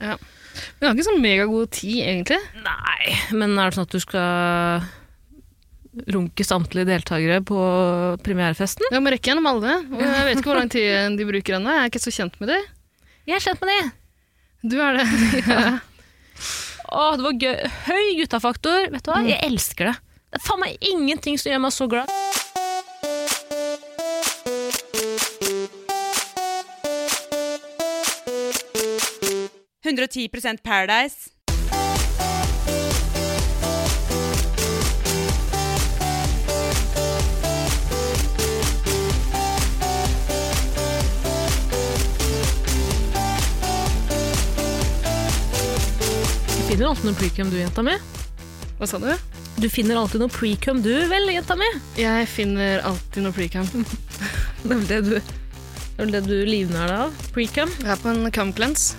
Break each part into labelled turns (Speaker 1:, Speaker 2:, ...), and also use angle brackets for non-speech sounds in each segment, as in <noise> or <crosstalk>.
Speaker 1: Men jeg har ikke så megagod tid, egentlig.
Speaker 2: Nei, men er det sånn at du skal runke samtlige deltakere på premierefesten?
Speaker 1: Jeg må rekke gjennom alle. Og jeg vet ikke hvor lang tid de bruker ennå. Jeg er ikke så kjent med de.
Speaker 2: Jeg er kjent med det.
Speaker 1: Du er det. <laughs>
Speaker 2: Å, det var gøy. Høy guttafaktor. Vet du hva? Jeg elsker det. Det er faen meg ingenting som gjør meg så glad.
Speaker 3: Paradise.
Speaker 2: Du finner alltid noe precum, du, jenta mi.
Speaker 1: Hva sa du?
Speaker 2: Du finner alltid noe precum, du vel, jenta mi?
Speaker 1: Jeg finner alltid noe precam.
Speaker 2: Det er vel det du, det er vel det du livnærer deg av. Precum.
Speaker 1: Jeg er på en cam cleanse.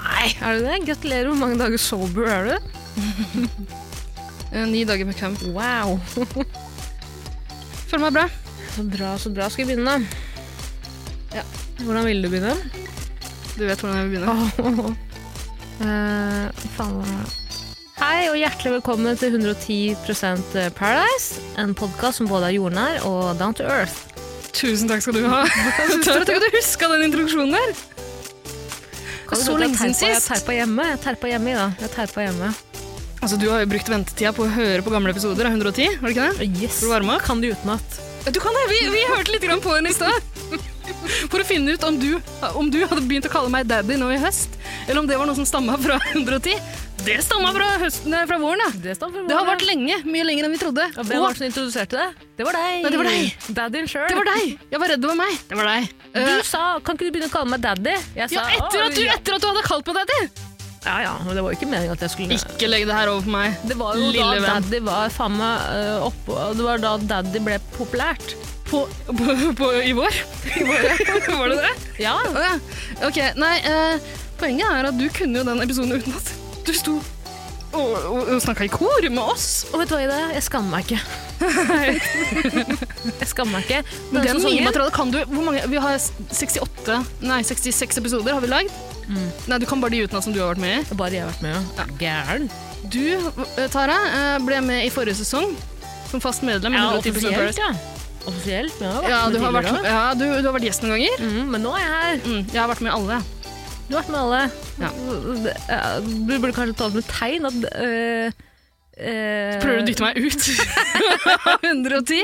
Speaker 2: Nei, er du det? Gratulerer. Hvor mange dager sober er du?
Speaker 1: Eh, Ni dager med cam.
Speaker 2: Wow.
Speaker 1: Føler meg bra.
Speaker 2: Så bra, så bra. Skal vi begynne, da? Hvordan ville du begynne?
Speaker 1: Du vet hvordan jeg vil begynne.
Speaker 2: <laughs> Eh, faen hva er det? Hei og hjertelig velkommen til 110 eh, Paradise. En podkast som både er jordnær og down to earth.
Speaker 1: Tusen takk skal du ha. <laughs> Tør at du ikke huska den introduksjonen der.
Speaker 2: Kan du
Speaker 1: Så
Speaker 2: tro at jeg
Speaker 1: lenge siden
Speaker 2: terpa-
Speaker 1: sist.
Speaker 2: Jeg terpa hjemme. Jeg terpa hjemme i dag. Jeg terpa hjemme.
Speaker 1: Altså, Du har jo brukt ventetida på å høre på gamle episoder av 110. var det ikke det?
Speaker 2: Yes.
Speaker 1: Skal du varme opp?
Speaker 2: Kan du utenat.
Speaker 1: Du kan det! Vi, vi hørte litt grann på den i stad. For å finne ut om du, om du hadde begynt å kalle meg daddy nå i høst, eller om det var noe som stamma fra <laughs> 110. Det stamma fra, høsten, nei, fra våren, ja.
Speaker 2: Det står for
Speaker 1: Det har
Speaker 2: våre.
Speaker 1: vært lenge. Mye lenger enn vi trodde.
Speaker 2: Og Hvem var det som introduserte det? Det var deg.
Speaker 1: Nei, det var deg.
Speaker 2: Daddyen Eh. sjøl.
Speaker 1: det var deg! Jeg var redd det var meg. Det var deg.
Speaker 2: Du sa 'kan ikke du begynne å kalle meg daddy'? Jeg
Speaker 1: ja,
Speaker 2: sa,
Speaker 1: etter
Speaker 2: «Å,
Speaker 1: at, du,
Speaker 2: ja.
Speaker 1: etter at du hadde kalt meg daddy!
Speaker 2: ja ja, men det var jo ikke meningen at jeg skulle
Speaker 1: Ikke legg det her over på meg.
Speaker 2: Det var jo
Speaker 1: Lille
Speaker 2: da
Speaker 1: venn.
Speaker 2: daddy var faen meg øh, oppå og Det var da daddy ble populært.
Speaker 1: På, på, på, I vår? <laughs> var det det?
Speaker 2: Ja.
Speaker 1: Å ja. Ok, nei, eh, poenget er at du kunne jo den episoden utenat. Du sto og, og, og snakka i kor med oss.
Speaker 2: Og vet du hva, Ida? Jeg skammer
Speaker 1: <laughs>
Speaker 2: meg ikke. jeg skammer meg ikke.
Speaker 1: Men
Speaker 2: sånn Denne
Speaker 1: det er mye
Speaker 2: sesongen-
Speaker 1: materiale. Kan du, hvor mange, vi har 68, nei 66 episoder har vi lagd. Nei, du kan bare de utenat som du har vært med i.
Speaker 2: Bare jeg har vært med, ja. Gæren.
Speaker 1: Du, eh, Tara, eh, ble med i forrige sesong som fast medlem.
Speaker 2: Ja,
Speaker 1: i 110%
Speaker 2: offisielt,
Speaker 1: Paradise.
Speaker 2: ja. Offisielt, men jeg har vært
Speaker 1: Ja,
Speaker 2: med
Speaker 1: du har vært,
Speaker 2: tidligere
Speaker 1: ja du, du har vært gjest noen ganger.
Speaker 2: også. Mm, men nå er jeg her.
Speaker 1: Mm, jeg har vært med i alle.
Speaker 2: Du har vært med alle.
Speaker 1: Ja.
Speaker 2: Det- ja, Du burde kanskje ta opp et tegn at øh, øh,
Speaker 1: Prøver du å dytte meg ut? <laughs> 110?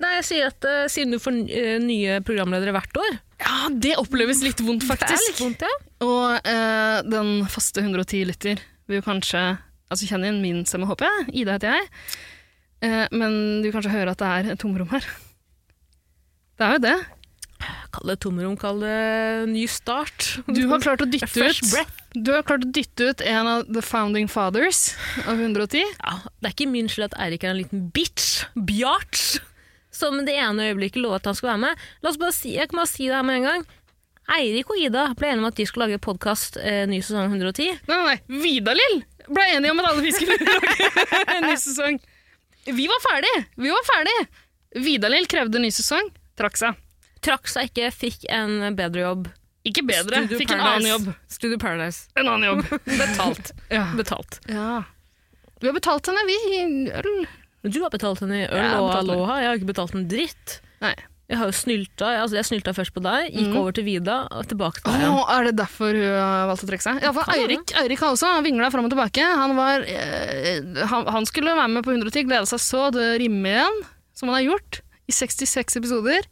Speaker 2: Nei, jeg sier at øh, siden du får øh, nye programledere hvert år
Speaker 1: Ja, det oppleves litt vondt,
Speaker 2: Det er
Speaker 1: faktisk.
Speaker 2: litt vondt, ja.
Speaker 1: Og eh, den faste 110-lytter vil jo kanskje altså kjenne igjen min stemme, håper jeg. Ida heter jeg. Eh, men du vil kanskje høre at det er et tomrom her. Det er jo det.
Speaker 2: Kall det tomrom, kall det ny start.
Speaker 1: Du har klart å
Speaker 2: A
Speaker 1: dytte
Speaker 2: <laughs> Fresh
Speaker 1: ut
Speaker 2: breath.
Speaker 1: Du har klart å dytte ut en av the founding fathers av 110.
Speaker 2: Ja, det er ikke min skyld at Eirik er en liten bitch, bjart, som det ene øyeblikket lovet at han skulle være med. La oss bare si, jeg kan bare si det her med en gang. Eirik og Ida ble enige om at de skulle lage podkast eh, ny sesong 110.
Speaker 1: Nei, nei, nei. Vidalil ble enige om at alle vi skulle <laughs> lage en ny sesong. Vi var ferdig! Vi var ferdig! Vidalil krevde ny sesong. Trakk seg.
Speaker 2: Trakk seg ikke, fikk en bedre jobb.
Speaker 1: Ikke bedre.
Speaker 2: Studio
Speaker 1: Fikk en
Speaker 2: Paradise.
Speaker 1: annen jobb.
Speaker 2: Studio Paradise.
Speaker 1: En annen jobb.
Speaker 2: <laughs> Betalt.
Speaker 1: Ja.
Speaker 2: betalt.
Speaker 1: Ja. Vi har betalt henne, vi, i øl.
Speaker 2: Men Du har betalt henne i øl
Speaker 1: Jeg har
Speaker 2: og
Speaker 1: betalt henne.
Speaker 2: aloha, jeg har ikke betalt en dritt.
Speaker 1: Nei. Mhm.
Speaker 2: Jeg har jo snylta, altså jeg snylta først på deg, gikk over til Vida og tilbake til
Speaker 1: Å,
Speaker 2: deg. igjen.
Speaker 1: er det derfor hun har valgt å trekke seg? Ja, for
Speaker 2: Kan
Speaker 1: Eirik, Eirik har også vingla fram og tilbake. Han, var, eh, han, han skulle være med på 110, gleda seg så det rimer igjen, som han har gjort. I 66 episoder.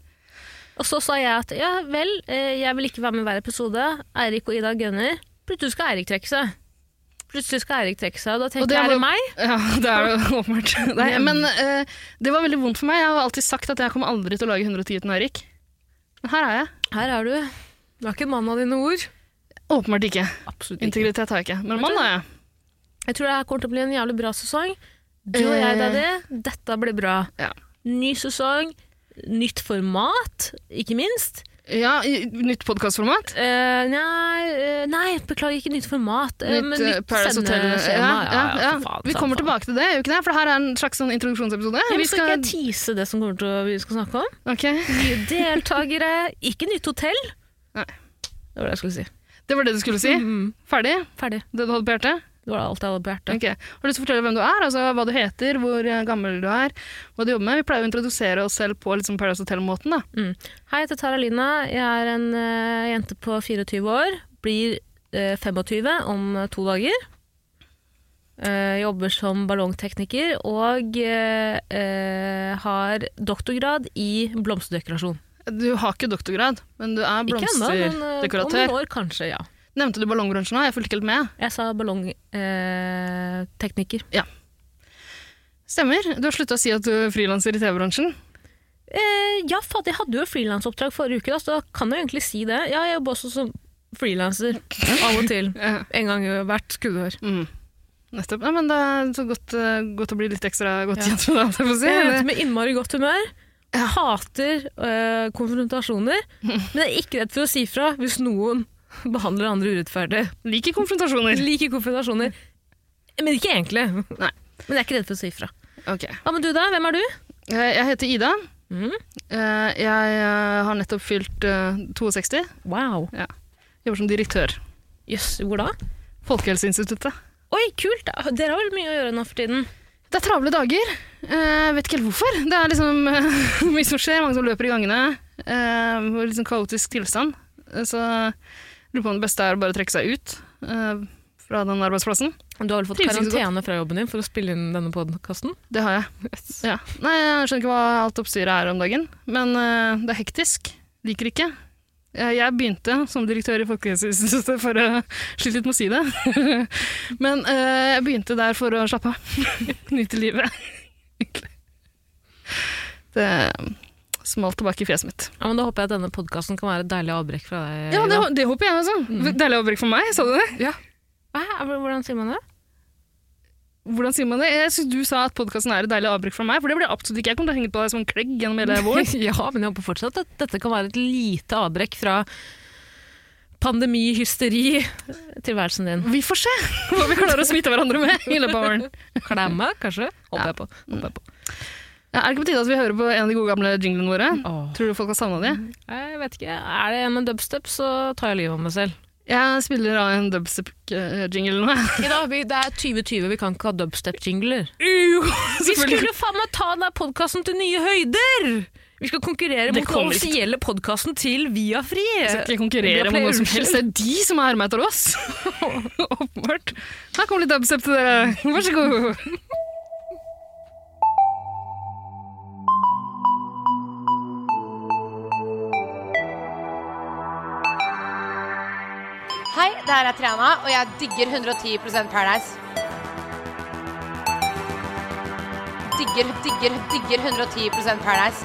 Speaker 2: Og så sa jeg at ja vel, eh, jeg vil ikke være med i hver episode. Eirik og Ida gunner. Plutselig skal Eirik trekke seg. Plutselig skal Eirik trekke seg, og da
Speaker 1: Og
Speaker 2: tenker
Speaker 1: det
Speaker 2: jeg er
Speaker 1: var-
Speaker 2: det meg?
Speaker 1: Ja, det er jo åpenbart. <laughs> Nei, men eh, det var veldig vondt for meg. Jeg har alltid sagt at jeg kommer aldri til å lage 110 uten Eirik. Men her er jeg.
Speaker 2: Her er du. Du er ikke en mann av dine ord.
Speaker 1: Åpenbart ikke.
Speaker 2: Absolutt ikke.
Speaker 1: Integritet har jeg ikke. Men mann er jeg.
Speaker 2: Jeg tror det her kommer til å bli en jævlig bra sesong. Eh, Du og jeg, Daddy, dette blir bra.
Speaker 1: Ja.
Speaker 2: Ny sesong, nytt format, ikke minst.
Speaker 1: Ja, i- nytt podkastformat.
Speaker 2: Eh, nei, eh, nei, beklager, ikke nytt format. eh, men
Speaker 1: Nytt eh,
Speaker 2: nytt
Speaker 1: Paradise Hotel.
Speaker 2: sendeskjema.
Speaker 1: Ja, ja, ja.
Speaker 2: for faen,
Speaker 1: Vi
Speaker 2: for
Speaker 1: kommer
Speaker 2: faen.
Speaker 1: tilbake til det, gjør vi ikke det? For det her er en slags sånn introduksjonsepisode.
Speaker 2: Ja, men
Speaker 1: Vi
Speaker 2: skal ikke jeg
Speaker 1: skal...
Speaker 2: tease det som kommer til å, vi skal snakke om?
Speaker 1: Ok.
Speaker 2: Nye deltakere, ikke nytt hotell.
Speaker 1: Nei.
Speaker 2: Det var det jeg skulle si.
Speaker 1: Det var det du skulle si.
Speaker 2: Mm.
Speaker 1: Ferdig?
Speaker 2: Ferdig.
Speaker 1: Det du hadde på hjertet?
Speaker 2: Det var alt jeg hadde på hjertet.
Speaker 1: Ok. Har du lyst til å fortelle hvem du er? Altså hva du heter, hvor eh, gammel du er, hva du jobber med? Vi pleier å introdusere oss selv på litt sånn Paradise Hotel-måten, da.
Speaker 2: Mm. Hei, jeg heter Tara Lina. Jeg er en eh, jente på 24 år. Blir eh, 25 om eh, to dager. Eh, jobber som ballongtekniker og eh, eh, har doktorgrad i blomsterdekorasjon.
Speaker 1: Du har ikke doktorgrad, men du er
Speaker 2: Ikke ennå, men eh, om
Speaker 1: blomsterdekoratør.
Speaker 2: noen år kanskje, ja.
Speaker 1: Nevnte du ballongbransjen nå? Jeg fulgte ikke helt med.
Speaker 2: Jeg sa eh, ballongtekniker.
Speaker 1: Stemmer. Du har slutta å si at du er frilanser i TV-bransjen.
Speaker 2: Eh, ja, fader, jeg hadde jo frilansoppdrag forrige uke, da, så da kan jeg jo egentlig si det. Ja, jeg jobber også som frilanser av og til.
Speaker 1: <laughs> Ja.
Speaker 2: En gang i hvert skuddår.
Speaker 1: Mm. Nettopp. Ja, men det er så godt, eh, godt å bli litt ekstra godt
Speaker 2: Ja.
Speaker 1: kjent med deg, holdt jeg på å si.
Speaker 2: Jeg er
Speaker 1: Det-
Speaker 2: ute med innmari godt humør. Jeg hater øh,
Speaker 1: <laughs>
Speaker 2: konfrontasjoner, men jeg er ikke redd for å si fra hvis noen behandler andre urettferdig.
Speaker 1: Liker konfrontasjoner.
Speaker 2: Jeg liker konfrontasjoner, men ikke egentlig.
Speaker 1: Nei.
Speaker 2: Men jeg er ikke redd for å si fra.
Speaker 1: Ok. Eh,
Speaker 2: Hva med du, da? Hvem er du?
Speaker 1: Jeg jeg heter Ida.
Speaker 2: Mm.
Speaker 1: Eh, Jeg eh, har nettopp fylt eh, 62.
Speaker 2: Wow.
Speaker 1: Jobber som direktør.
Speaker 2: Jøss, hvor da?
Speaker 1: Folkehelseinstituttet.
Speaker 2: Oi, kult! Dere har vel mye å gjøre nå for tiden?
Speaker 1: Det er travle dager. Eh, vet ikke helt hvorfor. Det er liksom <laughs> eh, mye som skjer, mange som løper i gangene. Eh, og litt sånn kaotisk tilstand. Eh, Så lurer på om det beste er å bare trekke seg ut eh, fra den arbeidsplassen.
Speaker 2: Du har vel fått
Speaker 1: Trives ikke så
Speaker 2: karantene fra jobben din for å spille inn denne podkasten?
Speaker 1: Det har jeg. Ja. Nei, jeg skjønner ikke hva alt oppstyret er om dagen, men eh, det er hektisk. Liker ikke. Eh, Jeg begynte som direktør i Folkehelseinstituttet for å <laughs> slite litt med å si det. <laughs> Men eh, jeg begynte der for å slappe av. <laughs> Nyte livet. egentlig. Det smalt tilbake i fjeset mitt.
Speaker 2: Ja, men Da håper jeg at denne podkasten kan være et deilig avbrekk fra deg.
Speaker 1: Ja, det,
Speaker 2: Ida.
Speaker 1: det håper jeg også. Deilig avbrekk for meg, sa du det?
Speaker 2: Hæ? Hvordan sier man det?
Speaker 1: Hvordan sier man det? Jeg synes Du sa at podkasten er et deilig avbrekk for meg, for det blir det absolutt ikke. Jeg kommer til å henge på deg som en klegg gjennom hele våren.
Speaker 2: <laughs> ja, men jeg håper fortsatt at dette kan være et lite avbrekk fra pandemi, hysteri, tilværelsen din.
Speaker 1: Vi får se hva vi klarer å smitte hverandre med i løpet av våren.
Speaker 2: Klemma, kanskje? Håper
Speaker 1: Ja.
Speaker 2: jeg på. Håper jeg, på.
Speaker 1: Ja, er det ikke på tide at vi hører på en av de gode gamle jinglene våre?
Speaker 2: Åh.
Speaker 1: Tror du folk har savna de?
Speaker 2: jeg vet ikke. Er det en med dubstep, så tar jeg livet av meg selv.
Speaker 1: Jeg spiller av en dubstep-jingle nå.
Speaker 2: I dag, vi, det er 2020, vi kan ikke ha dubstep-jingler. Vi
Speaker 1: Selvfølgelig.
Speaker 2: skulle faen meg ta denne podkasten til nye høyder! Vi skal
Speaker 1: Det
Speaker 2: konkurrere mot den
Speaker 1: kommer ikke til-
Speaker 2: offisielle podkasten til Viafri.
Speaker 1: Jeg skal
Speaker 2: Fri.
Speaker 1: ikke konkurrere
Speaker 2: Det
Speaker 1: med
Speaker 2: pleier
Speaker 1: noe som
Speaker 2: unnskyld.
Speaker 1: helst. Det er de som er meg etter oss. <laughs> Åpenbart. Her kommer litt dubstep til dere. Vær så god.
Speaker 3: Hei, det her er Triana, og jeg digger 110 Paradise. Digger, digger, digger 110 Paradise.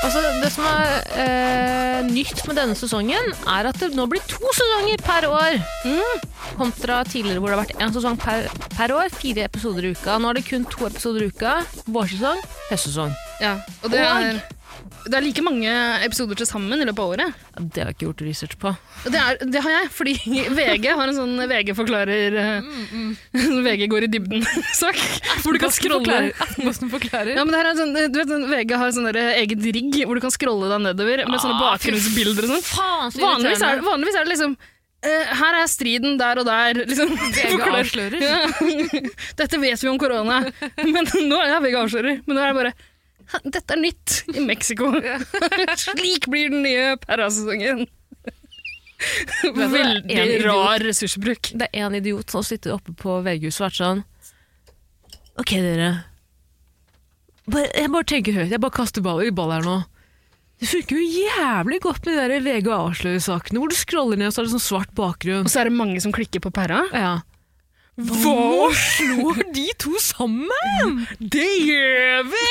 Speaker 2: Altså, det som er eh, nytt med denne sesongen, er at det nå blir to sesonger per år.
Speaker 1: Mm.
Speaker 2: Kontra tidligere hvor det har vært én sesong per, per år, fire episoder i uka. Nå er det kun to episoder i uka. Vårsesong, høstsesong.
Speaker 1: Ja, og det er, det er like mange episoder til sammen i løpet av året.
Speaker 2: Ja, Det har jeg ikke gjort research på.
Speaker 1: Og Det, er, det har jeg, fordi <laughs> VG har en sånn VG-forklarer eh,
Speaker 2: Mm,
Speaker 1: <laughs> VG går i dybden-sak. Hvor du kan scrolle
Speaker 2: Aftenposten forklarer.
Speaker 1: Ja, men det her er sånn, du vet, sånn, VG har sånn derre eget rigg hvor du kan scrolle deg nedover med sånne
Speaker 2: Ah, fy
Speaker 1: bakgrunnsbilder og sånn.
Speaker 2: Faen, så
Speaker 1: Vanligvis er,
Speaker 2: irriterende.
Speaker 1: vanligvis er det liksom eh, Her er striden der og der. <laughs> Liksom,
Speaker 2: VG
Speaker 1: Forklar-
Speaker 2: avslører.
Speaker 1: Ja. Dette vet vi om korona, <laughs> men nå er VG avslører. Men nå er det bare "Hæ, Dette er nytt i
Speaker 2: <laughs>
Speaker 1: Mexico. <laughs> Slik blir den nye Paradise-sesongen.
Speaker 2: er en
Speaker 1: Veldig
Speaker 2: idiot.
Speaker 1: rar ressursbruk.
Speaker 2: Det er en idiot som sitter oppe på VG-huset og vært sånn Ok, dere. Bare, jeg bare tenker høyt. Jeg bare kaster ball i ball her nå. Det funker jo jævlig godt med de der VG og avslører-sakene, hvor du scroller ned og så er det sånn svart bakgrunn.
Speaker 1: Og så er det mange som klikker på pæra.
Speaker 2: Ja. Hva slår de to sammen?!
Speaker 1: Det gjør vi!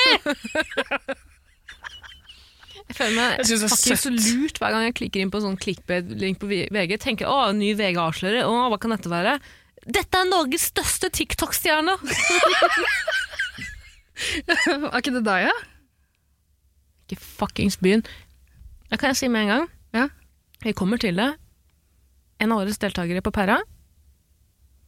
Speaker 2: Jeg føler meg
Speaker 1: Jeg synes det er
Speaker 2: faktisk så lurt hver gang jeg klikker inn på en sånn clickbait-link på VG. Tenker å, ny VG avslører. Å, hva kan dette være? Dette er Norges største TikTok-stjerne!
Speaker 1: <laughs> Er ikke det deg, ja?
Speaker 2: ikke fuckings byen. Det kan jeg si med en gang.
Speaker 1: Ja.
Speaker 2: Vi kommer til det. En av årets deltakere på Pæra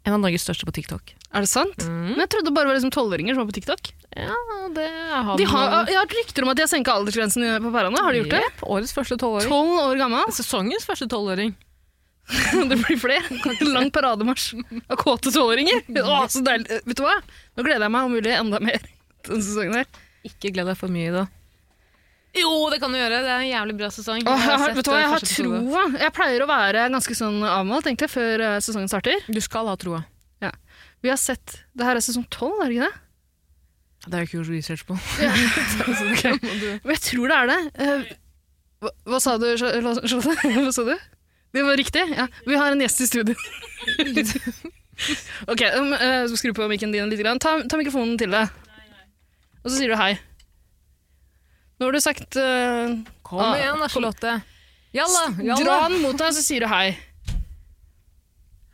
Speaker 2: En av Norges største på TikTok.
Speaker 1: Er det sant? Men jeg trodde det bare var liksom tolvåringer som var på TikTok.
Speaker 2: Mm, Ja, det har
Speaker 1: De har, jeg har hørt rykter om at de har senka aldersgrensen på pæra nå. Har de gjort det?
Speaker 2: Årets første tolvåring.
Speaker 1: Tolv år gammel. <laughs>
Speaker 2: Sesongens første tolvåring.
Speaker 1: Det blir flere. <laughs> Lang parademarsj av kåte tolvåringer. <laughs> Å, så deilig. Eh, Vet du hva? Nå gleder jeg meg om mulig enda mer <laughs> til denne sesongen her.
Speaker 2: Ikke gled deg for mye, da. Jo, det kan du gjøre! Det er en jævlig bra sesong.
Speaker 1: Åh, jeg
Speaker 2: <laughs> har
Speaker 1: har,
Speaker 2: sett,
Speaker 1: vet du hva,
Speaker 2: eh,
Speaker 1: jeg har
Speaker 2: første episode.
Speaker 1: troa. Jeg pleier å være ganske sånn avmålt, tenkte jeg, før eh, sesongen starter.
Speaker 2: Du skal ha troa.
Speaker 1: Vi har sett Det her er sesong tolv, er det ikke det?
Speaker 2: Det har jeg ikke gjort research på.
Speaker 1: Men jeg tror det er det. Eh, Hva, hva sa du, Sh- Sh- Charlotte? <laughs> Hva sa du? Det var riktig? Ja. Vi har en gjest i studio. <laughs> ok, um, eh, så skru på mikken din litt. Grann. Ta, ta mikrofonen til deg. Og så sier du hei. Nå har du sagt eh,
Speaker 2: Kom
Speaker 1: Ah,
Speaker 2: igjen, da,
Speaker 1: kom.
Speaker 2: Charlotte. Jalla!
Speaker 1: Dra
Speaker 2: jalla.
Speaker 1: den mot deg, så sier du hei.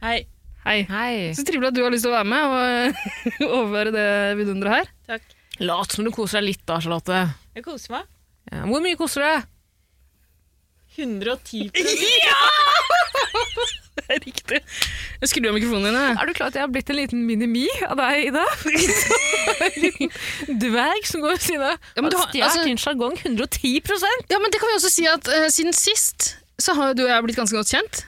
Speaker 4: Hei.
Speaker 1: Hei.
Speaker 2: Hei.
Speaker 1: Så trivelig at du har lyst til å være med og <laughs> eh, overvære det vidunderet her.
Speaker 4: Takk.
Speaker 2: Lat som du koser deg litt, da, Charlotte.
Speaker 4: Jeg koser meg.
Speaker 2: Ja, hvor mye koser du deg?
Speaker 4: 110
Speaker 1: Det er riktig. Jeg skrur av mikrofonen din. jeg.
Speaker 2: Er du klar at jeg har blitt en liten minimi av deg, Ida? <laughs> en liten dverg som går ved siden av.
Speaker 1: Ja, men du har-
Speaker 2: Stjert
Speaker 1: altså-
Speaker 2: din sjargong 110
Speaker 1: Ja, men det kan vi også si at eh, siden sist så har jo du og jeg blitt ganske godt kjent.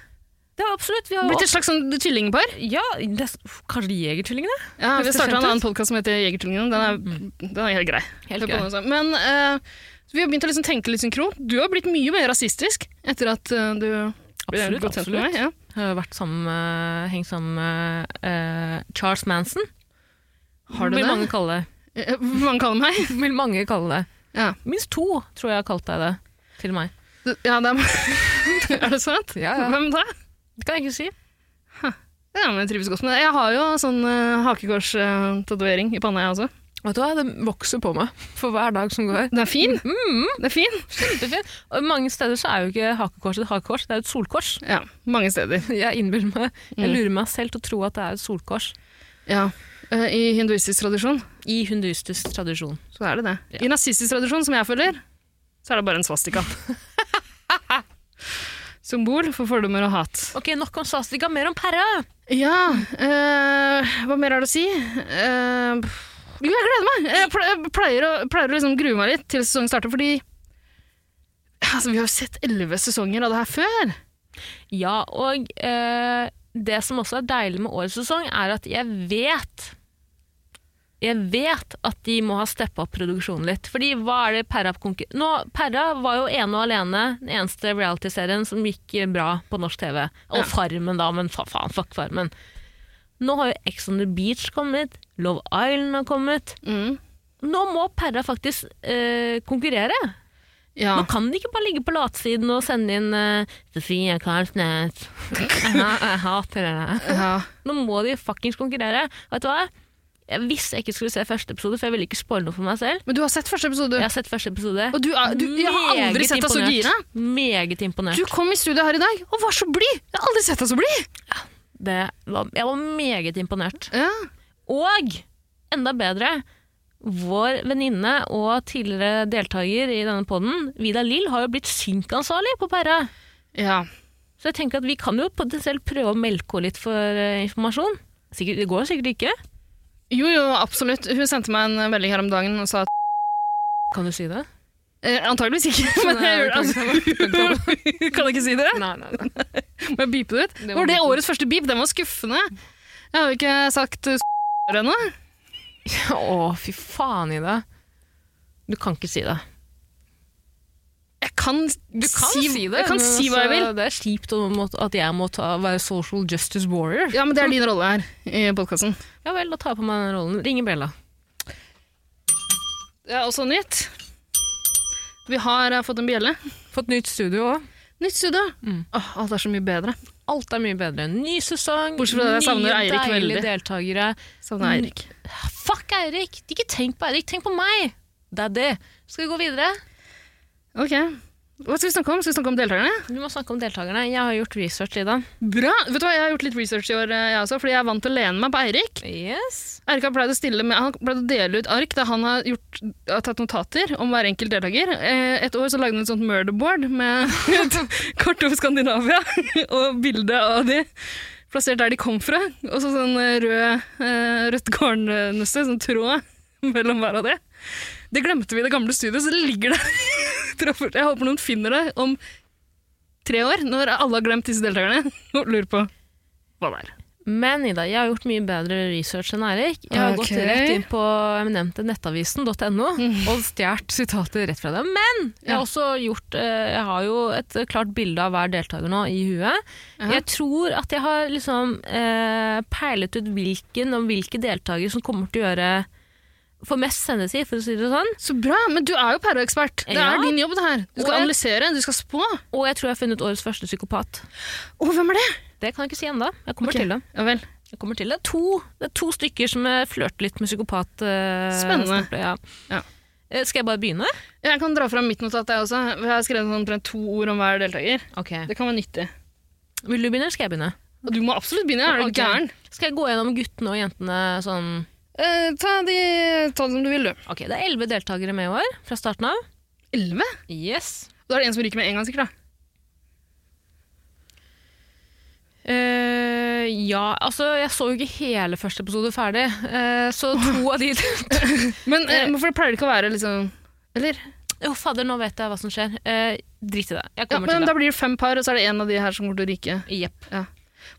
Speaker 2: Det er absolutt. Vi har
Speaker 1: Blitt et slags sånn tvillingpar.
Speaker 2: Ja, det, kanskje de Jegertvillingene?
Speaker 1: Ja, vi
Speaker 2: Høres det
Speaker 1: starta
Speaker 2: kjent
Speaker 1: en annen podkast som heter Jegertvillingene. Den, er- den er helt grei.
Speaker 2: Mm. Helt
Speaker 1: Hør på
Speaker 2: grei.
Speaker 1: den også. Men eh, vi har begynt å liksom tenke litt synkron. Du har blitt mye mer rasistisk etter at eh, du ble
Speaker 2: Absolutt,
Speaker 1: godt kjent
Speaker 2: absolutt.
Speaker 1: med meg. Ja.
Speaker 2: Jeg har vært sammen med, hengt sammen med eh, Charles Manson.
Speaker 1: Har du
Speaker 2: vil
Speaker 1: det?
Speaker 2: Mange kalle det.
Speaker 1: Eh, Hvor mange kaller meg?
Speaker 2: <laughs> Vil mange kalle det.
Speaker 1: Ja.
Speaker 2: Minst to tror jeg har kalt deg det. Til meg.
Speaker 1: Du- ja det er, <laughs> er det sant?
Speaker 2: Ja, ja.
Speaker 1: Hvem da?
Speaker 2: Det kan jeg ikke si.
Speaker 1: Ja, men Jeg trives godt med det. Jeg har jo sånn uh, hakekorstatovering i panna, jeg også.
Speaker 2: Vet du hva, Den vokser på meg for hver dag som går.
Speaker 1: Den er fin.
Speaker 2: Mm.
Speaker 1: Det er fin.
Speaker 2: Kjempefint. Og mange steder så er jo ikke hakekors et hakekors, det er et solkors.
Speaker 1: Ja, mange steder.
Speaker 2: Jeg innbiller meg, jeg
Speaker 1: Mm.
Speaker 2: lurer meg selv til å tro at det er et solkors.
Speaker 1: Ja. eh, I hinduistisk tradisjon
Speaker 2: I hunduistisk tradisjon.
Speaker 1: så er det det. I nazistisk tradisjon, som jeg følger, så er det bare en
Speaker 2: <laughs>
Speaker 1: svastika. Symbol for fordommer og hat.
Speaker 2: Ok, nok om sastika, mer om pæra!
Speaker 1: Ja, eh, hva mer er det å si? Eh, pff, jo, jeg gleder meg! Jeg ple- jeg pleier å, pleier å liksom grue meg litt til sesongen starter, fordi altså, vi har jo sett elleve sesonger av det her før.
Speaker 2: Ja, og eh, det som også er deilig med årets sesong, er at jeg vet jeg vet at de må ha steppa opp produksjonen litt. Fordi hva er det Perra konkur- Nå, Perra var jo ene og alene den eneste realityserien som gikk eh, bra på norsk TV. Og
Speaker 1: Ja.
Speaker 2: Farmen, da, men fa faen, fuck Farmen. Nå har jo Ex on the Beach kommet, Love Island har kommet. Nå må Perra faktisk eh, konkurrere.
Speaker 1: Ja.
Speaker 2: Nå kan de ikke bare ligge på latsiden og sende inn uh, Sofie <laughs> Karlsnes. jeg jeg hater dere.
Speaker 1: ja.
Speaker 2: Nå må de fuckings konkurrere. Vet du hva? Jeg visste jeg ikke skulle se første episode, for jeg ville ikke spoile noe for meg selv.
Speaker 1: Men du har sett første episode, du.
Speaker 2: Jeg har sett første episode.
Speaker 1: Og du, er, du jeg har aldri
Speaker 2: Meget
Speaker 1: sett deg så
Speaker 2: imponert.
Speaker 1: gira.
Speaker 2: Meget imponert.
Speaker 1: Du kom i studio her i dag og var så blid! Jeg har aldri sett deg så blid!
Speaker 2: Det var, jeg var meget imponert.
Speaker 1: Ja.
Speaker 2: Og enda bedre, vår venninne og tidligere deltaker i denne podden, Vida Lill, har jo blitt synkansvarlig på Perra.
Speaker 1: ja.
Speaker 2: Så jeg tenker at vi kan jo potensielt prøve å melke henne litt for eh, informasjon. Sikkert, det går sikkert ikke.
Speaker 1: Jo, jo, absolutt. Hun sendte meg en melding her om dagen og sa at
Speaker 2: Kan du si <laughs> det?
Speaker 1: eh, Antageligvis ikke, <laughs> men jeg gjør det. Altså, <laughs> kan jeg ikke si det?
Speaker 2: Nei, nei, nei.
Speaker 1: Må jeg beepe det ut?
Speaker 2: Det må
Speaker 1: var det
Speaker 2: beepes ut.
Speaker 1: årets første beep? Den var skuffende. Jeg har jo ikke sagt eh, s*** ennå.
Speaker 2: Å, fy faen, Ida. Du kan ikke si det.
Speaker 1: Jeg kan, Jeg kan si altså- hva jeg vil.
Speaker 2: altså, Det er kjipt å må- at jeg må ta, være social justice warrior.
Speaker 1: Ja, men det er din rolle her i podkasten.
Speaker 2: Ja vel, da tar jeg på meg den rollen. Ringe Bella.
Speaker 1: Det er også nytt. Vi har eh, fått en bjelle.
Speaker 2: Fått nytt studio òg.
Speaker 1: Nytt studio. Åh, alt er så mye bedre.
Speaker 2: Alt er mye bedre. Ny sesong,
Speaker 1: Bortsett fra det, jeg savner
Speaker 2: nye
Speaker 1: Eirik
Speaker 2: deilige
Speaker 1: veldig.
Speaker 2: deltakere.
Speaker 1: Savner Eirik.
Speaker 2: Fuck Eirik! Ikke tenk på Eirik, tenk på meg! Daddy. Skal vi gå videre?
Speaker 1: Ok. Hva skal vi snakke om? Skal vi snakke om deltakerne?
Speaker 2: Vi må snakke om deltakerne. Jeg har gjort research i den.
Speaker 1: Bra! Vet du hva, Jeg har gjort litt research i år, eh, jeg også, fordi jeg er vant til å lene meg på Eirik.
Speaker 2: Yes.
Speaker 1: Eirik har pleid å, stille med, han pleide å dele ut ark der han har, gjort, har tatt notater om hver enkelt deltaker. Eh, Et år så lagde han et sånt <laughs> murderboard med et kart over Skandinavia og bilde av de. plassert der de kom fra. Og så sånn eh, rød, eh, rødt garnnøste, sånn tråd mellom hver av det. Det glemte vi i det gamle studioet, så det ligger der. <laughs> Troffer. Jeg håper noen finner det om tre år, når alle har glemt disse deltakerne, og lurer på hva det er.
Speaker 2: Men Ida, jeg har gjort mye bedre research enn Eirik. Jeg
Speaker 1: Ok.
Speaker 2: har
Speaker 1: Mhm.
Speaker 2: gått rett inn på eminente nettavisen.no
Speaker 1: <laughs>
Speaker 2: og stjålet sitater rett fra dem. Men jeg
Speaker 1: Ja.
Speaker 2: har også gjort eh, Jeg har jo et klart bilde av hver deltaker nå i huet.
Speaker 1: Ja.
Speaker 2: Jeg tror at jeg har liksom eh, peilet ut hvilken og hvilke deltaker som kommer til å gjøre Får mest sendetid, for å si det sånn.
Speaker 1: Så bra, men du er jo perleekspert. Det
Speaker 2: Ja.
Speaker 1: er din jobb, det her. Du skal
Speaker 2: Og jeg-
Speaker 1: analysere, du skal spå.
Speaker 2: Og jeg tror jeg har funnet årets første psykopat.
Speaker 1: Å, hvem er det?
Speaker 2: Det kan jeg ikke si ennå. Jeg kommer
Speaker 1: Ok.
Speaker 2: til det.
Speaker 1: Ja vel.
Speaker 2: Jeg kommer til det. To, det er to stykker som eh, flørter litt med psykopat. eh,
Speaker 1: Spennende.
Speaker 2: stempelet, Ja.
Speaker 1: Ja.
Speaker 2: Eh, Skal jeg bare begynne?
Speaker 1: Jeg kan dra fram mitt notat, jeg også. Jeg har skrevet sånn omtrent to ord om hver deltaker.
Speaker 2: Ok.
Speaker 1: Det kan være nyttig.
Speaker 2: Vil du begynne, eller skal jeg begynne?
Speaker 1: Og du må absolutt begynne, er du
Speaker 2: Ok.
Speaker 1: gæren?
Speaker 2: Skal jeg gå gjennom guttene og jentene sånn
Speaker 1: Eh, ta, de, ta det som du vil, du.
Speaker 2: Ok, det er elleve deltakere med i år fra starten av.
Speaker 1: Elleve?
Speaker 2: Yes.
Speaker 1: Da er det en som ryker med en gang, sikkert. da.
Speaker 2: Eh, ja, altså jeg så jo ikke hele første episode ferdig, eh, så <laughs> to av de
Speaker 1: Men eh, for det pleier det ikke å være liksom Eller?
Speaker 2: Jo, fader, nå vet jeg hva som skjer. Eh, drit i det. Jeg
Speaker 1: Ja,
Speaker 2: kommer
Speaker 1: men
Speaker 2: til
Speaker 1: da blir det fem par, og så er det en av de her som kommer til å ryke.
Speaker 2: det. Jepp.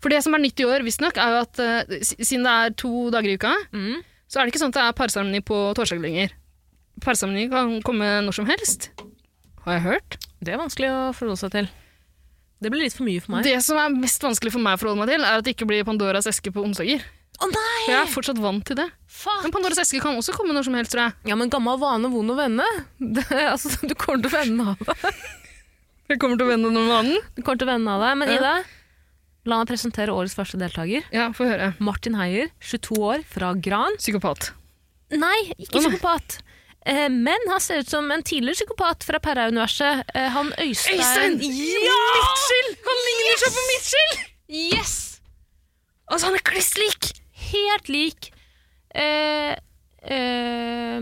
Speaker 1: For det som er nytt i år, visstnok, er jo at eh, s- siden det er to dager i uka,
Speaker 2: Mm.
Speaker 1: så er det ikke sånn at det er parseremoni på torsdag lenger. Parseremoni kan komme når som helst. Har jeg hørt.
Speaker 2: Det er vanskelig å forholde seg til. Det blir litt for mye for meg.
Speaker 1: Det som er mest vanskelig for meg å forholde meg til, er at det ikke blir Pandoras eske på onsdager.
Speaker 2: Å nei!
Speaker 1: For jeg er fortsatt vant til det.
Speaker 2: Faen!
Speaker 1: Men Pandoras eske kan også komme når som helst, tror jeg.
Speaker 2: Ja, men gammel vane, vond å vende. <laughs> Det, altså, du kommer til å vende av det.
Speaker 1: Jeg kommer til å vende noen vanen.
Speaker 2: Du kommer til å vende av det. Men
Speaker 1: Ja.
Speaker 2: Ida, la meg presentere årets første deltaker.
Speaker 1: Ja, få høre.
Speaker 2: Martin Heier, 22 år, fra Gran.
Speaker 1: Psykopat.
Speaker 2: Nei,
Speaker 1: Å,
Speaker 2: ikke
Speaker 1: nei.
Speaker 2: psykopat. Eh, men han ser ut som en tidligere psykopat fra Perra-universet. Eh, han Øystein.
Speaker 1: Ja! Mitchell! Han ligner seg på Mitchell!
Speaker 2: Yes!
Speaker 1: Altså, han er kliss lik!
Speaker 2: Helt lik. Eh, eh,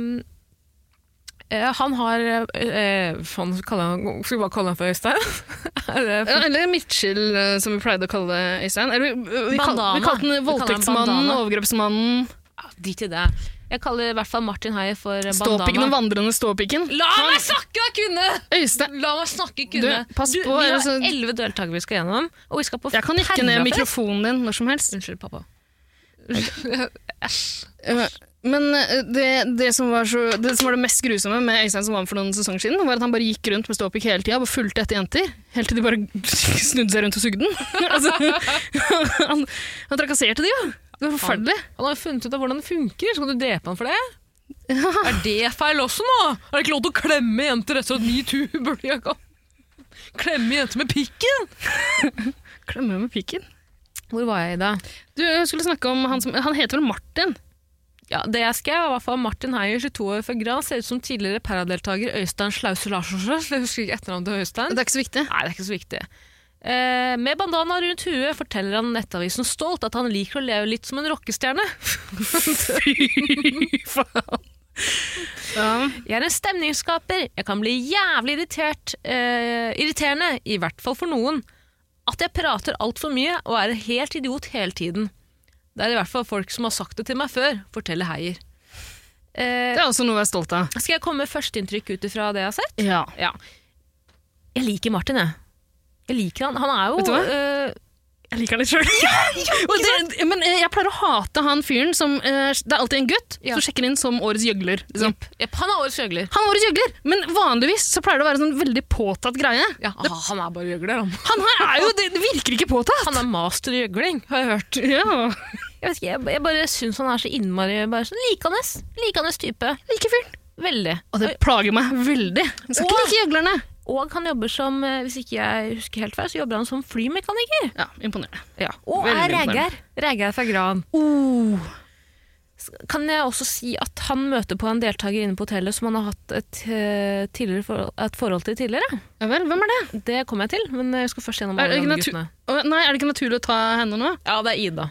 Speaker 2: eh, han har eh, Faen, skal han- skal vi bare kalle han for Øystein? <laughs> Er det
Speaker 1: Ja, eller Mitchell, eh, som vi pleide å kalle Øystein. Eller, vi, vi, vi, kal
Speaker 2: Bandana.
Speaker 1: vi kalte den
Speaker 2: Vi kaller den
Speaker 1: voldtektsmannen,
Speaker 2: bandana.
Speaker 1: overgrepsmannen,
Speaker 2: Ja, Drit i det. Jeg kaller i hvert fall Martin Heier for eh,
Speaker 1: ståpikken, den
Speaker 2: bandana.
Speaker 1: vandrende ståpikken.
Speaker 2: La meg snakke, da, kunne!
Speaker 1: Øystein!
Speaker 2: La meg snakke, kunne.
Speaker 1: Du, pass på,
Speaker 2: vi har
Speaker 1: altså-
Speaker 2: elleve deltakere vi skal gjennom. Og vi skal på
Speaker 1: Jeg kan nikke ned
Speaker 2: Perrafest.
Speaker 1: mikrofonen din når som helst.
Speaker 2: Unnskyld, pappa.
Speaker 1: Eh, Men eh, det, det, som var så, det som var det mest grusomme med Øystein som var med for noen sesonger siden, var at han bare gikk rundt med ståpikk hele tida og fulgte etter jenter. Helt til de bare <laughs> snudde seg rundt og sugde den. <laughs> altså, han, han trakasserte de jo. Det var forferdelig.
Speaker 2: Han har jo funnet ut av hvordan det funker, så kan du drepe han
Speaker 1: <laughs>
Speaker 2: for det? Er det feil også nå? Er det ikke lov til å klemme jenter etter at metoo burde jeg kan? Klemme jenter med pikken?
Speaker 1: Klemmer med pikken.
Speaker 2: Hvor var jeg i dag?
Speaker 1: Du jeg skulle snakke om han som Han heter vel Martin?
Speaker 2: Ja, det jeg skrev var i hvert fall Martin Heier, 22 år fra Gran, ser ut som tidligere paradeltaker Øystein Slause Larsen. Jeg husker ikke etternavnet til Øystein.
Speaker 1: Det er ikke så viktig.
Speaker 2: Nei, det er ikke så viktig. Eh, med bandana rundt huet forteller han Nettavisen stolt at han liker å leve litt som en rockestjerne.
Speaker 1: Fy faen. Ja.
Speaker 2: Jeg er en stemningsskaper. Jeg kan bli jævlig irritert. Eh, irriterende, i hvert fall for noen. At jeg prater altfor mye og er en helt idiot hele tiden. Det er i hvert fall folk som har sagt det til meg før, forteller Heier. Eh,
Speaker 1: Det er også noe å være stolt av.
Speaker 2: skal jeg komme med førsteinntrykk ut ifra det jeg har sett?
Speaker 1: Ja.
Speaker 2: Ja. Jeg liker Martin, jeg. Jeg liker han. Han er jo
Speaker 1: Vet du hva?
Speaker 2: eh,
Speaker 1: Jeg liker han litt sjøl. <laughs> men eh, jeg pleier å hate han fyren som eh, Det er alltid en gutt
Speaker 2: Ja.
Speaker 1: som sjekker inn som årets gjøgler. Liksom.
Speaker 2: jepp, Han er årets gjøgler.
Speaker 1: Han er årets gjøgler, men vanligvis så pleier det å være sånn veldig påtatt greie.
Speaker 2: Ja, han er bare gjøgler, han.
Speaker 1: Han her er jo Det, det virker ikke påtatt!
Speaker 2: Han er master i gjøgling, har jeg hørt.
Speaker 1: Ja.
Speaker 2: Jeg vet ikke, jeg, jeg bare syns han er så innmari bare sånn likende. Likende type.
Speaker 1: Like fyren.
Speaker 2: Veldig.
Speaker 1: Og det plager meg veldig. Jeg skal ikke
Speaker 2: Åh.
Speaker 1: like gjøglerne.
Speaker 2: Og han jobber som, eh, hvis ikke jeg husker helt feil, så jobber han som flymekaniker.
Speaker 1: Ja, imponerende.
Speaker 2: Og
Speaker 1: veldig
Speaker 2: er rægær. Rægær fra Gran. Oh. Kan jeg også si at han møter på en deltaker inne på hotellet som han har hatt et, eh, tidligere forhold, et forhold til tidligere?
Speaker 1: Ja vel, hvem er det?
Speaker 2: Det kommer jeg til, men jeg skal først gjennom
Speaker 1: Er det
Speaker 2: alle
Speaker 1: ikke
Speaker 2: de
Speaker 1: natu-
Speaker 2: guttene.
Speaker 1: Å, Nei, er det ikke naturlig å ta henne nå?
Speaker 2: Ja, det er Ida.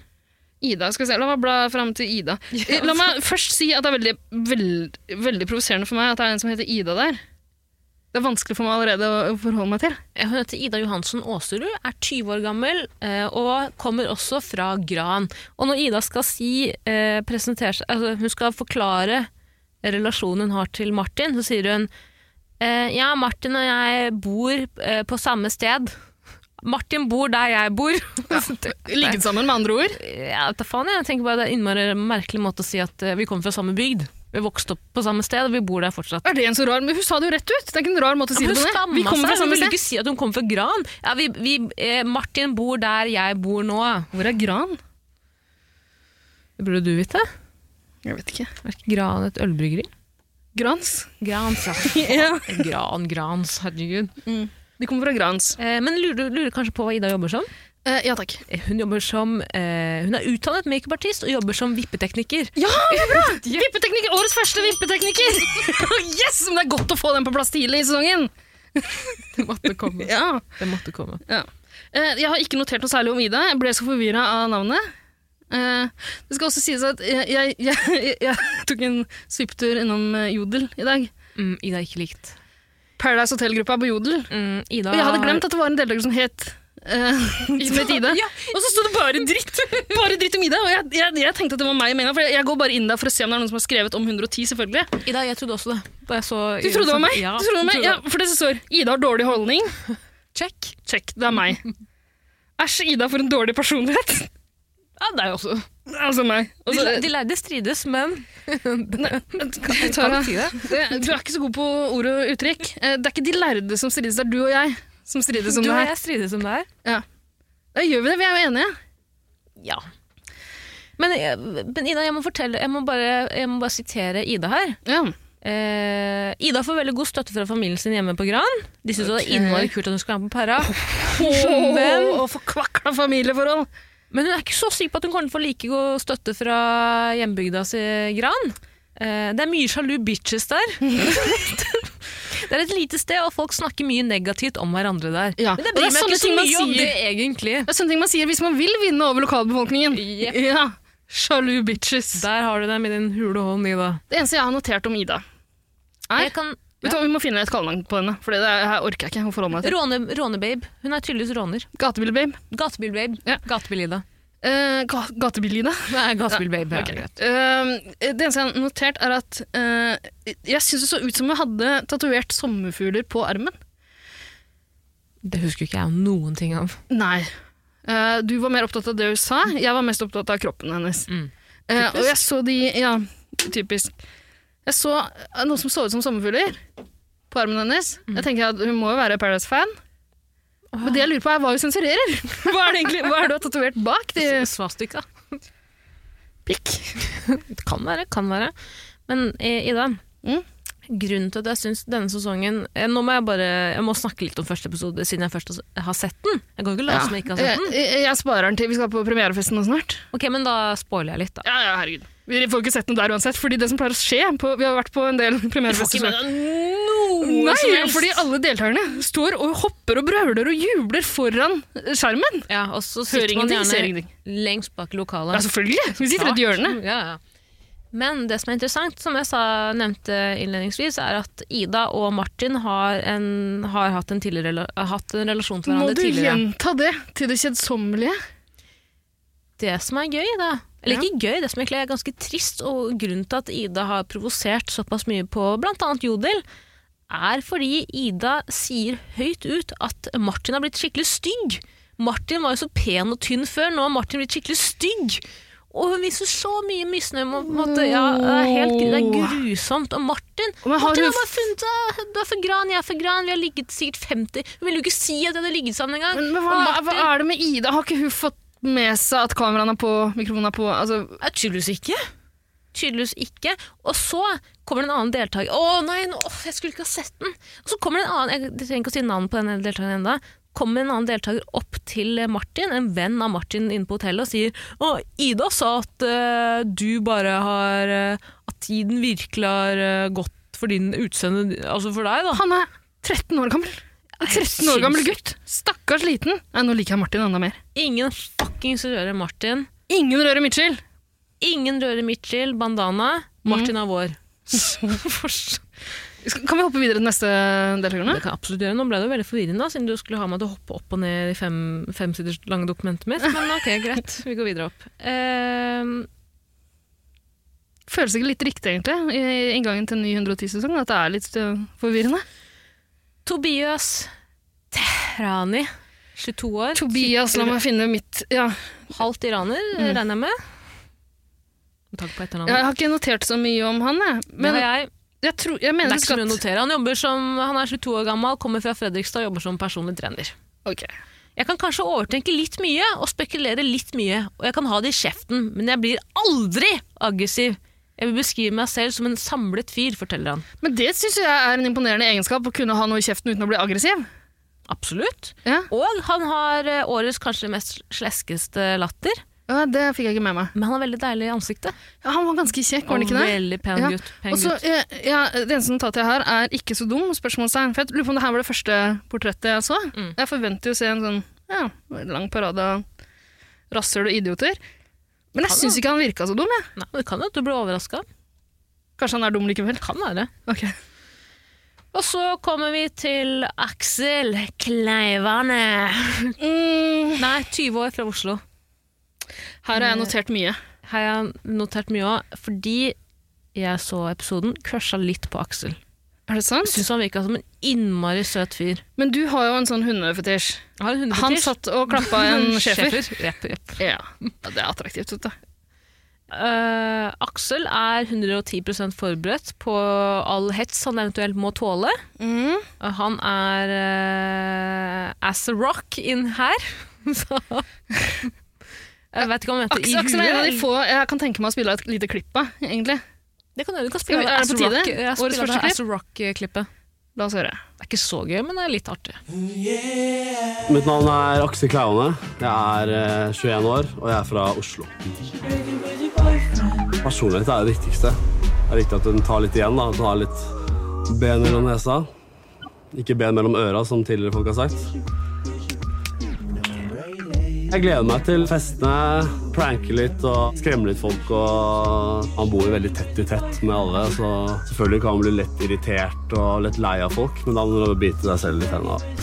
Speaker 1: Ida, skal vi se. La meg bla fram til Ida. Eh, La meg først si at det er veldig, veld, veldig provoserende for meg at det er en som heter Ida der. Det er vanskelig for meg allerede å å forholde meg til.
Speaker 2: Hun heter Ida Johansen Aasrud, er 20 år gammel eh, og kommer også fra Gran. Og når Ida skal si, eh, presentere seg- altså, hun skal forklare relasjonen hun har til Martin, så sier hun eh, ja, Martin og jeg bor eh, på samme sted. Martin bor der jeg bor. <laughs>
Speaker 1: Ligget sammen, med andre ord.
Speaker 2: Ja, vet du faen, jeg tenker bare det er en innmari merkelig måte å si at eh, vi kommer fra samme bygd. Vi vokste opp på samme sted, og vi bor der fortsatt.
Speaker 1: Er det en så rar Men hun sa det jo rett ut! Det er ikke en rar måte å si
Speaker 2: Ja,
Speaker 1: det
Speaker 2: men
Speaker 1: på.
Speaker 2: hun
Speaker 1: det.
Speaker 2: skamma
Speaker 1: Vi kommer fra
Speaker 2: seg. Hun
Speaker 1: samme
Speaker 2: ville
Speaker 1: sted.
Speaker 2: ikke si at hun kom fra Gran. Ja, vi, vi, eh, Martin bor der jeg bor nå.
Speaker 1: Hvor er Gran?
Speaker 2: Det burde du vite.
Speaker 1: Jeg vet ikke.
Speaker 2: Er ikke Gran et ølbryggeri?
Speaker 1: Grans?
Speaker 2: Grans, ja.
Speaker 1: <laughs> Ja.
Speaker 2: <laughs> Gran, Grans, herregud.
Speaker 1: De kommer fra Grans.
Speaker 2: Eh, men lurer, lurer kanskje på hva Ida jobber som?
Speaker 1: Eh, ja takk.
Speaker 2: Eh, Hun, jobber som, eh, hun er utdannet makeupartist og jobber som vippetekniker.
Speaker 1: Ja, det er bra! Vippeteknikker! Årets første vippeteknikker! <laughs> yes! Men det er godt å få den på plass tidlig i sesongen.
Speaker 2: <laughs> Det måtte komme.
Speaker 1: Ja.
Speaker 2: Det måtte komme.
Speaker 1: Ja. Eh, jeg har ikke notert noe særlig om Ida. Jeg ble så forvirra av navnet. Eh, det skal også sies at jeg, jeg, <laughs> jeg, jeg tok en svipptur innom eh, Jodel i dag.
Speaker 2: Mm, Ida er ikke likt.
Speaker 1: Paradise Hotel-gruppa er på Jodel.
Speaker 2: Mm, Ida
Speaker 1: Og jeg hadde
Speaker 2: <laughs>
Speaker 1: glemt at det var en deltaker som het eh, <laughs> som het Ida.
Speaker 2: Ja.
Speaker 1: Og så sto det bare dritt Bare dritt om Ida. Og jeg, jeg, jeg tenkte at det var meg i meninga, for jeg, jeg går bare inn der for å se om det er noen som har skrevet om 110, selvfølgelig.
Speaker 2: Ida, jeg trodde også det. Da jeg så,
Speaker 1: Du trodde det var meg?
Speaker 2: Ja,
Speaker 1: du trodde det var meg? Ja, for det står Ida har dårlig holdning.
Speaker 2: Check.
Speaker 1: Check, det er meg. Æsj, Ida for en dårlig personlighet.
Speaker 2: Ja, det er jo også.
Speaker 1: Altså meg. Og
Speaker 2: De,
Speaker 1: så-
Speaker 2: de lærde strides, men
Speaker 1: Nei, Tara,
Speaker 2: Kan si det.
Speaker 1: det- du er ikke så god på ord og uttrykk. Eh, Det er ikke de lærde som strides, det er du og jeg som strides om
Speaker 2: Du
Speaker 1: det
Speaker 2: og
Speaker 1: her.
Speaker 2: jeg strides om det her.
Speaker 1: Da gjør vi det, vi er jo enige.
Speaker 2: Ja. Men, eh, men Ida, jeg må, fortelle, jeg, må bare, jeg må bare sitere Ida her.
Speaker 1: Ja.
Speaker 2: Eh, Ida får veldig god støtte fra familien sin hjemme på Gran. De syns det
Speaker 1: Ok.
Speaker 2: er innmari kult at hun skal være med på Para.
Speaker 1: Men
Speaker 2: Men,
Speaker 1: å forkvakla familieforhold!
Speaker 2: men hun er ikke så sikker på at hun kommer til å få like god støtte fra hjembygda si Gran. Eh, det er mye sjalu bitches der. det er et lite sted, og folk snakker mye negativt om hverandre der.
Speaker 1: Ja,
Speaker 2: Men det
Speaker 1: og det er
Speaker 2: bryr meg
Speaker 1: sånne
Speaker 2: ikke så
Speaker 1: ting man
Speaker 2: mye om
Speaker 1: sier.
Speaker 2: det, egentlig.
Speaker 1: Det er sånne ting man sier hvis man vil vinne over lokalbefolkningen.
Speaker 2: Jepp.
Speaker 1: Ja, Sjalu bitches.
Speaker 2: Der har du dem i din hule hånd, Ida.
Speaker 1: Det eneste jeg har notert om Ida Nei.
Speaker 2: Jeg kan
Speaker 1: Vet du hva, Vi må finne et kallenavn på henne, for det der- her orker jeg ikke å forholde meg til.
Speaker 2: Råne, rånebabe. Hun er tydeligvis råner.
Speaker 1: Gatebilbabe.
Speaker 2: Gatebilbabe.
Speaker 1: Ja.
Speaker 2: Gatebil-Ida.
Speaker 1: Uh, ga Gatebil-Ida.
Speaker 2: Nei, gatebilbabe.
Speaker 1: Ok. Eh, det eneste jeg har notert, er at eh, jeg syns det så ut som hun hadde tatovert sommerfugler på armen.
Speaker 2: Det husker ikke jeg noen ting <laughs> av.
Speaker 1: Nei. Eh, du var mer opptatt av det hun sa, jeg var mest opptatt av kroppen hennes.
Speaker 2: Mm.
Speaker 1: Eh, og jeg så de Ja, typisk. Jeg så eh, noe som så ut som sommerfugler på armen hennes. Jeg tenker at Hun må jo være Paradise-fan. Men det jeg lurer på er hva hun <laughs> sensurerer. Hva er det
Speaker 2: <laughs>
Speaker 1: egentlig, hva er det du har tatovert bak? De?
Speaker 2: Svastika.
Speaker 1: Pikk.
Speaker 2: Det kan være, kan være. Men eh, Ida,
Speaker 1: Mm.
Speaker 2: grunnen til at jeg syns denne sesongen eh, Nå må jeg bare jeg må snakke litt om første episode, siden jeg først har sett den. Jeg kan ikke late som jeg ikke har
Speaker 1: jeg,
Speaker 2: sett den.
Speaker 1: jeg, Eh, jeg sparer den til vi skal på premierefesten nå snart.
Speaker 2: Ok, Men da spoiler jeg litt, da.
Speaker 1: Ja, ja, herregud. Vi får ikke sett noe der uansett, fordi det som pleier å skje på, Vi har vært på en del premierefestivaler.
Speaker 2: noe
Speaker 1: Nei, fordi alle deltakerne står og hopper og brøler og jubler foran eh, skjermen.
Speaker 2: Ja, og så
Speaker 1: Hører
Speaker 2: sitter man
Speaker 1: ingenting, ser
Speaker 2: gjerne
Speaker 1: ingenting.
Speaker 2: lengst bak i lokalet.
Speaker 1: Ja, selvfølgelig! Vi sitter rett i hjørnet.
Speaker 2: Ja, ja. Men det som er interessant, som jeg sa, nevnte innledningsvis, er at Ida og Martin har, en, har hatt, en tidligere rela- har hatt en relasjon til
Speaker 1: Må
Speaker 2: hverandre
Speaker 1: du
Speaker 2: tidligere.
Speaker 1: gjenta det til det kjedsommelige?
Speaker 2: Det som er gøy, da
Speaker 1: Ja.
Speaker 2: Eller ikke gøy, det som egentlig er ganske trist, og grunnen til at Ida har provosert såpass mye på bl.a. Jodel, er fordi Ida sier høyt ut at Martin har blitt skikkelig stygg. Martin var jo så pen og tynn før, nå har Martin blitt skikkelig stygg. Og hun viser så mye misnøye. med- på en måte. Ja, det, er helt, gru- det er grusomt. Og Martin
Speaker 1: Men har
Speaker 2: Martin
Speaker 1: hun
Speaker 2: har bare funnet «Å, Du er for gran, jeg er for gran. Vi har ligget sikkert 50 Hun ville jo ikke si at de hadde ligget sammen engang.
Speaker 1: Men, men
Speaker 2: Og
Speaker 1: hva,
Speaker 2: Martin-
Speaker 1: hva er det med Ida? Har ikke hun fått med seg at kameraene er på, mikrofonen er på? Altså,
Speaker 2: Ja, tydeligvis ikke. Tydeligvis ikke. Og så kommer det en annen deltaker. Å nei, nå, åh, jeg skulle ikke ha sett den! Og så kommer det en annen, jeg trenger ikke å si navn på den deltakeren enda, kommer en annen deltaker opp til Martin, en venn av Martin inne på hotellet, og sier å, Ida sa at eh, du bare har eh, At tiden virkelig har eh, gått for din utseende, altså for deg, da.
Speaker 1: han er 13 år gammel. En 13 år gammel gutt. Stakkars liten. Nei, nå liker jeg Martin enda mer.
Speaker 2: Ingen fuckings rører Martin.
Speaker 1: Ingen rører Mitchell.
Speaker 2: Ingen rører Mitchell, bandana. Martin er vår. For-
Speaker 1: Skal- Kan vi hoppe videre til neste deltakerne?
Speaker 2: Det kan jeg absolutt gjøre. Nå ble det jo veldig forvirrende, da, siden du skulle ha meg til å hoppe opp og ned i fem, fem siders lange dokumentet mitt. Men ok, <laughs> greit. Vi går videre opp. Ehm,
Speaker 1: Føles ikke litt riktig, egentlig, i inngangen til en ny 110-sesong, at det er litt øh, forvirrende?
Speaker 2: Tobias Tehrani, 22 år.
Speaker 1: <laughs> Tobias, la Mm. meg finne mitt ja.
Speaker 2: Halvt iraner, regner jeg med. Med tanke på etternavnet.
Speaker 1: Jeg har ikke notert så mye om han, jeg.
Speaker 2: Men
Speaker 1: Men
Speaker 2: jeg,
Speaker 1: jeg, tror, jeg
Speaker 2: det
Speaker 1: mener
Speaker 2: er ikke så mye å
Speaker 1: at
Speaker 2: notere. Han, jobber som, han er 22 år gammel, kommer fra Fredrikstad og jobber som personlig trener.
Speaker 1: Ok.
Speaker 2: Jeg kan kanskje overtenke litt mye og spekulere litt mye, og jeg kan ha det i kjeften, men jeg blir aldri aggressiv. Jeg vil beskrive meg selv som en samlet fyr, forteller han.
Speaker 1: Men det syns jeg er en imponerende egenskap, å kunne ha noe i kjeften uten å bli aggressiv.
Speaker 2: Absolutt.
Speaker 1: Ja,
Speaker 2: Og han har eh, årets kanskje mest sleskeste latter,
Speaker 1: ja Det fikk jeg ikke med meg.
Speaker 2: men han er veldig deilig i ansiktet.
Speaker 1: Ja, han var ganske kjekk, var han ikke
Speaker 2: Og
Speaker 1: det?
Speaker 2: Veldig pen
Speaker 1: Ja.
Speaker 2: gutt. Pen
Speaker 1: Og så,
Speaker 2: gutt.
Speaker 1: eh, ja, det eneste notatet jeg har, er 'ikke så dum'? spørsmålstegn. For jeg lurer på om det her var det første portrettet jeg så.
Speaker 2: Mm.
Speaker 1: Jeg forventer jo å se en sånn ja, lang parade av rasshøl og idioter. Men jeg
Speaker 2: Han
Speaker 1: syns ikke han virka så dum. jeg.
Speaker 2: Nei, det kan jo at du blir overraska.
Speaker 1: Kanskje han er dum likevel.
Speaker 2: Kan være.
Speaker 1: Ok.
Speaker 2: Og så kommer vi til Aksel Kleivane.
Speaker 1: Mm,
Speaker 2: Nei, 20 år fra Oslo.
Speaker 1: her har jeg notert mye.
Speaker 2: har jeg notert mye òg, fordi jeg så episoden, crusha litt på Aksel.
Speaker 1: Er det sant?
Speaker 2: Syns han virka som en innmari søt fyr.
Speaker 1: Men du har jo en sånn hundefetisj.
Speaker 2: Har
Speaker 1: Han
Speaker 2: en hundefetisj.
Speaker 1: satt og klappa <laughs>
Speaker 2: <laughs>
Speaker 1: en schæfer.
Speaker 2: Jepp, jepp.
Speaker 1: Ja. ja, det er attraktivt. Vet du.
Speaker 2: Eh, Aksel er 110 forberedt på all hets han eventuelt må tåle.
Speaker 1: Mm.
Speaker 2: Eh, Han er eh, as a rock inn her. <laughs> Så Jeg vet ikke om han heter
Speaker 1: Aksel, Aksel er en av de få jeg kan tenke meg å spille et lite klipp av, egentlig.
Speaker 2: Det kan du, du kan
Speaker 1: Skal vi-
Speaker 2: spille
Speaker 1: er det
Speaker 2: As
Speaker 1: på
Speaker 2: a
Speaker 1: tide?
Speaker 2: Rock- eh, jeg
Speaker 1: Årets
Speaker 2: spiller
Speaker 1: første
Speaker 2: det
Speaker 1: klipp?
Speaker 2: As a Rock-klippet.
Speaker 1: La oss høre.
Speaker 2: Det er ikke så gøy, men det er litt artig.
Speaker 5: Mitt navn er Aksel Klaune. Jeg er eh, 21 år, og jeg er fra Oslo. Personlighet er det viktigste. Det er viktig at den tar litt igjen. da, at Den har litt ben mellom nesa. Ikke ben mellom øra, som tidligere folk har sagt. Jeg gleder meg til festene, pranke litt og skremme litt folk. Og han bor jo veldig tett i tett med alle, så selvfølgelig kan han bli lett irritert og lett lei av folk, men da må du bite deg selv litt i hendene.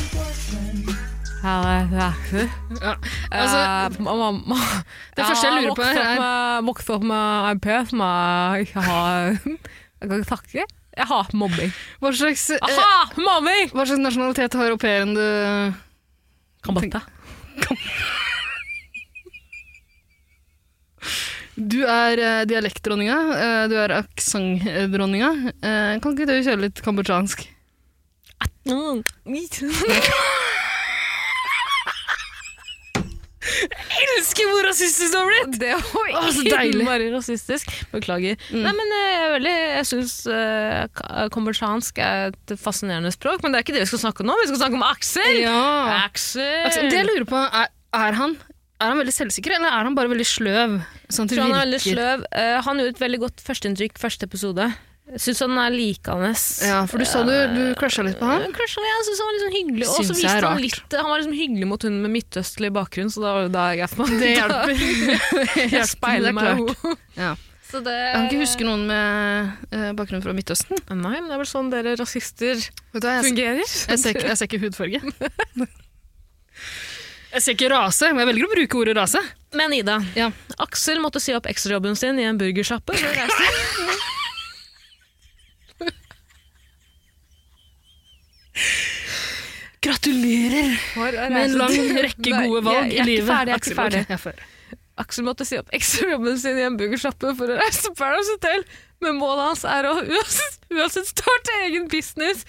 Speaker 2: Her er Aksel.
Speaker 1: Ja. Altså,
Speaker 2: Eh, <laughs> det første jeg lurer på
Speaker 1: her er-
Speaker 2: er Vokst opp med en Per som jeg ikke har Jeg kan ikke snakke. Jeg hater mobbing.
Speaker 1: Hva slags,
Speaker 2: Jeg
Speaker 1: eh,
Speaker 2: hater mobbing!
Speaker 1: hva slags nasjonalitet har au pairen du
Speaker 2: Kambodsja.
Speaker 1: Du er eh, dialektdronninga, eh, du er aksentdronninga. Eh, kan ikke du kjøre litt kambodsjansk?
Speaker 2: Mm. Jeg elsker hvor rasistisk du har blitt! Det var
Speaker 1: Å, så deilig.
Speaker 2: innmari rasistisk. Beklager. Nei, men eh, jeg, er veldig, jeg eh, syns kambodsjansk er et fascinerende språk, men det er ikke det vi skal snakke om nå. Vi skal snakke om Aksel!
Speaker 1: Ja.
Speaker 2: Aksel!
Speaker 1: Altså, det jeg lurer på, er, er, han, er han veldig selvsikker, eller er han bare veldig sløv? Sånn at det
Speaker 2: Jeg tror han er veldig
Speaker 1: virker.
Speaker 2: sløv. Eh, han gjorde et veldig godt førsteinntrykk første episode. Syns han er likende.
Speaker 1: Ja, for du sa du, du crusha litt på han. <laughs>
Speaker 2: Eh, Crusha litt, jeg syns han var liksom hyggelig. Og så
Speaker 1: Syns jeg er
Speaker 2: viste han
Speaker 1: rart.
Speaker 2: litt Han var liksom hyggelig mot hun med midtøstlig bakgrunn, så da var det <laughs> da jeg gaff meg.
Speaker 1: Det <laughs> hjelper. Det
Speaker 2: Jeg
Speaker 1: hjelper, det
Speaker 2: speiler
Speaker 1: er
Speaker 2: meg
Speaker 1: klart.
Speaker 2: i henne.
Speaker 1: Ja.
Speaker 2: <laughs> Så det
Speaker 1: Jeg kan ikke huske noen med eh, bakgrunn fra Midtøsten.
Speaker 2: Nei, men det er vel sånn dere rasister
Speaker 1: Vet du hva, jeg,
Speaker 2: fungerer.
Speaker 1: jeg, ser, ikke- jeg ser ikke hudfarge. <laughs> Jeg ser ikke rase, men jeg velger å bruke ordet rase.
Speaker 2: Men Ida,
Speaker 1: Ja.
Speaker 2: Aksel måtte si opp ekstrajobben sin i en burgersjappe. så reiste
Speaker 1: Gratulerer med en <laughs> lang rekke
Speaker 2: Nei,
Speaker 1: gode valg
Speaker 2: jeg- jeg er
Speaker 1: i
Speaker 2: ikke
Speaker 1: livet.
Speaker 2: ferdig, jeg er ikke
Speaker 1: Aksel,
Speaker 2: ferdig.
Speaker 1: ok, jeg er ferdig.
Speaker 2: Aksel måtte si opp ekstrajobben sin i en burgersjappe for å reise til Paradise Hotel, men målet hans er å uansett, uansett starte egen business.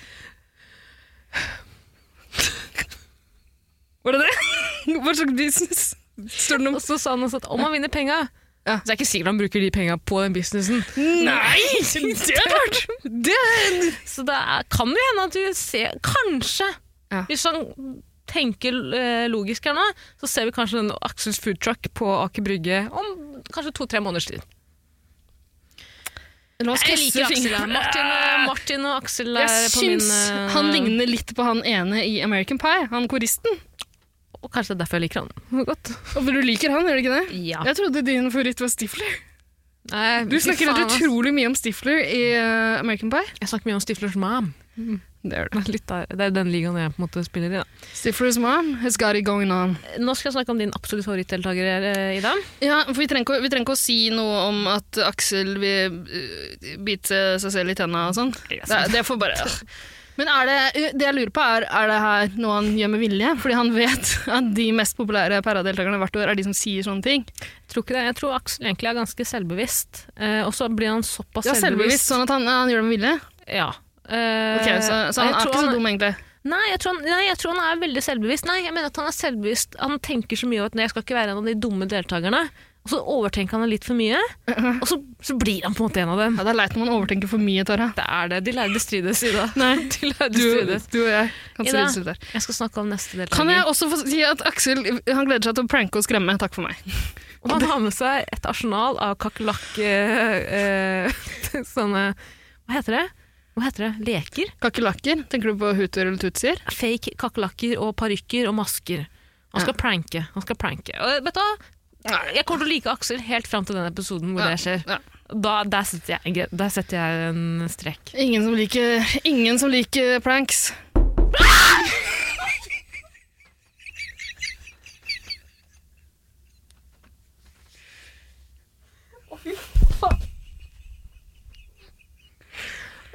Speaker 1: Var det det? <laughs> Hva slags business? Står det
Speaker 2: Og
Speaker 1: noe
Speaker 2: så sa han også at om han vinner penga
Speaker 1: Ja.
Speaker 2: Så det er ikke sikkert han bruker de penga på den businessen.
Speaker 1: Altså, <laughs> Nei! Det er klart! Det er...
Speaker 2: Så det er, kan jo hende at vi ser Kanskje!
Speaker 1: Ja.
Speaker 2: Hvis han tenker eh, logisk her nå, så ser vi kanskje den Aksels food truck på Aker Brygge om kanskje to-tre måneders tid.
Speaker 1: La oss
Speaker 2: Jeg liker
Speaker 1: krysse
Speaker 2: Aksel. her.
Speaker 1: fingrene.
Speaker 2: Martin, Martin og Aksel er
Speaker 1: Jeg
Speaker 2: på
Speaker 1: syns
Speaker 2: min eh,
Speaker 1: han ligner litt på han ene i American Pie, han koristen.
Speaker 2: Og kanskje det er derfor jeg liker han godt.
Speaker 1: Og Du liker han, gjør du ikke det?
Speaker 2: Ja.
Speaker 1: Jeg trodde din favoritt var Stifler.
Speaker 2: Nei,
Speaker 1: Du
Speaker 2: Eh, fy
Speaker 1: snakker
Speaker 2: faen,
Speaker 1: helt
Speaker 2: ass.
Speaker 1: utrolig mye om Stifler i eh, American Pie.
Speaker 2: Jeg snakker mye om Stiflers mom.
Speaker 1: Det gjør du.
Speaker 2: Det er litt der- det er den ligaen jeg på en måte spiller i. Da.
Speaker 1: Stifler's mom has got it going on.
Speaker 2: Nå skal jeg snakke om din absolutt favorittdeltaker, eh, Ida.
Speaker 1: Ja, for vi trenger, ikke, å- vi trenger ikke å si noe om at Aksel vil eh, bite seg selv i tenna og sånn. Det, det får bare øh. <laughs> Men er det, det jeg lurer på, er er det her noe han gjør med vilje? Fordi han vet at de mest populære paradeltakerne hvert år er de som sier sånne ting.
Speaker 2: Jeg tror ikke det. Jeg tror Aksel egentlig er ganske selvbevisst. Eh, og så blir han såpass
Speaker 1: Ja, selvbevisst, sånn at han, han gjør det med vilje.
Speaker 2: Ja. Eh,
Speaker 1: Ok, Så, så han
Speaker 2: jeg
Speaker 1: er
Speaker 2: tror
Speaker 1: ikke så dum, egentlig.
Speaker 2: Nei jeg, tror han, nei, jeg tror han er veldig selvbevisst. Nei, jeg mener at Han er selvbevisst. Han tenker så mye over at nei, jeg skal ikke være en av de dumme deltakerne. Og så overtenker han det litt for mye, og så, så blir han på en måte en av dem.
Speaker 1: Ja, det er leit når man overtenker for mye, Tara.
Speaker 2: Det er det. De lærde strides, <laughs> Ida.
Speaker 1: Nei,
Speaker 2: De lærde
Speaker 1: du,
Speaker 2: strides.
Speaker 1: du og jeg kan
Speaker 2: Ida.
Speaker 1: strides litt der.
Speaker 2: Jeg skal snakke om neste deltaker.
Speaker 1: Kan jeg også få si at Aksel han gleder seg til å pranke og skremme? Takk for meg.
Speaker 2: Og han har med seg et arsenal av kakerlakk... <laughs> eh, <laughs> eh, sånne Hva heter det? Hva heter det? Leker?
Speaker 1: Kakerlakker? Tenker du på hutuer eller tutsier?
Speaker 2: Fake kakerlakker og parykker og masker. Han skal pranke. Han skal pranke. Og vet du hva? Jeg kommer til å like Aksel helt fram til den episoden hvor
Speaker 1: Ja.
Speaker 2: det skjer.
Speaker 1: Ja.
Speaker 2: Da, der, setter jeg, en gre- der setter jeg en strek.
Speaker 1: Ingen som liker, ingen som liker pranks.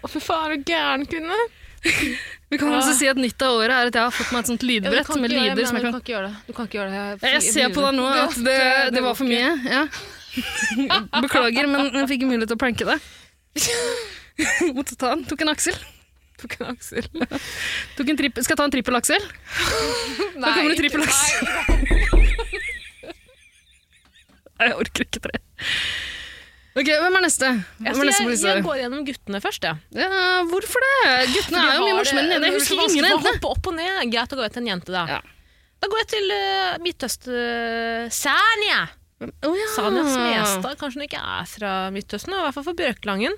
Speaker 2: Å, fy faen, er du gæren, kvinne?
Speaker 1: Vi kan også si at nytt av året er at jeg har fått meg et sånt lydbrett med lyder som jeg kan
Speaker 4: ikke gjøre det. Du kan ikke gjøre det. Jeg,
Speaker 1: jeg ser på deg nå at det, det var for mye. Ja. <laughs> Beklager, men jeg fikk mulighet til å pranke deg. <laughs> Måtte ta den. Tok en Aksel.
Speaker 2: Tok en Aksel.
Speaker 1: Tok en tripp- Skal jeg ta en trippel Aksel? Da kommer det trippel Aksel. Nei, jeg orker ikke tre. Ok, Hvem er neste?
Speaker 2: Jeg,
Speaker 1: Hvem er neste på lista?
Speaker 2: jeg går gjennom guttene først, jeg.
Speaker 1: Ja, hvorfor det? Guttene er jo mye morsommere enn jentene. Jeg husker ingen av jentene.
Speaker 2: Hoppe opp og ned. Greit å gå etter en jente, da.
Speaker 1: Ja.
Speaker 2: Da går jeg til uh, Midtøst-Særn, jeg.
Speaker 1: Oh, ja.
Speaker 2: Sanja Smestad. Kanskje hun ikke er fra Midtøsten, i hvert fall fra Bjørkelangen.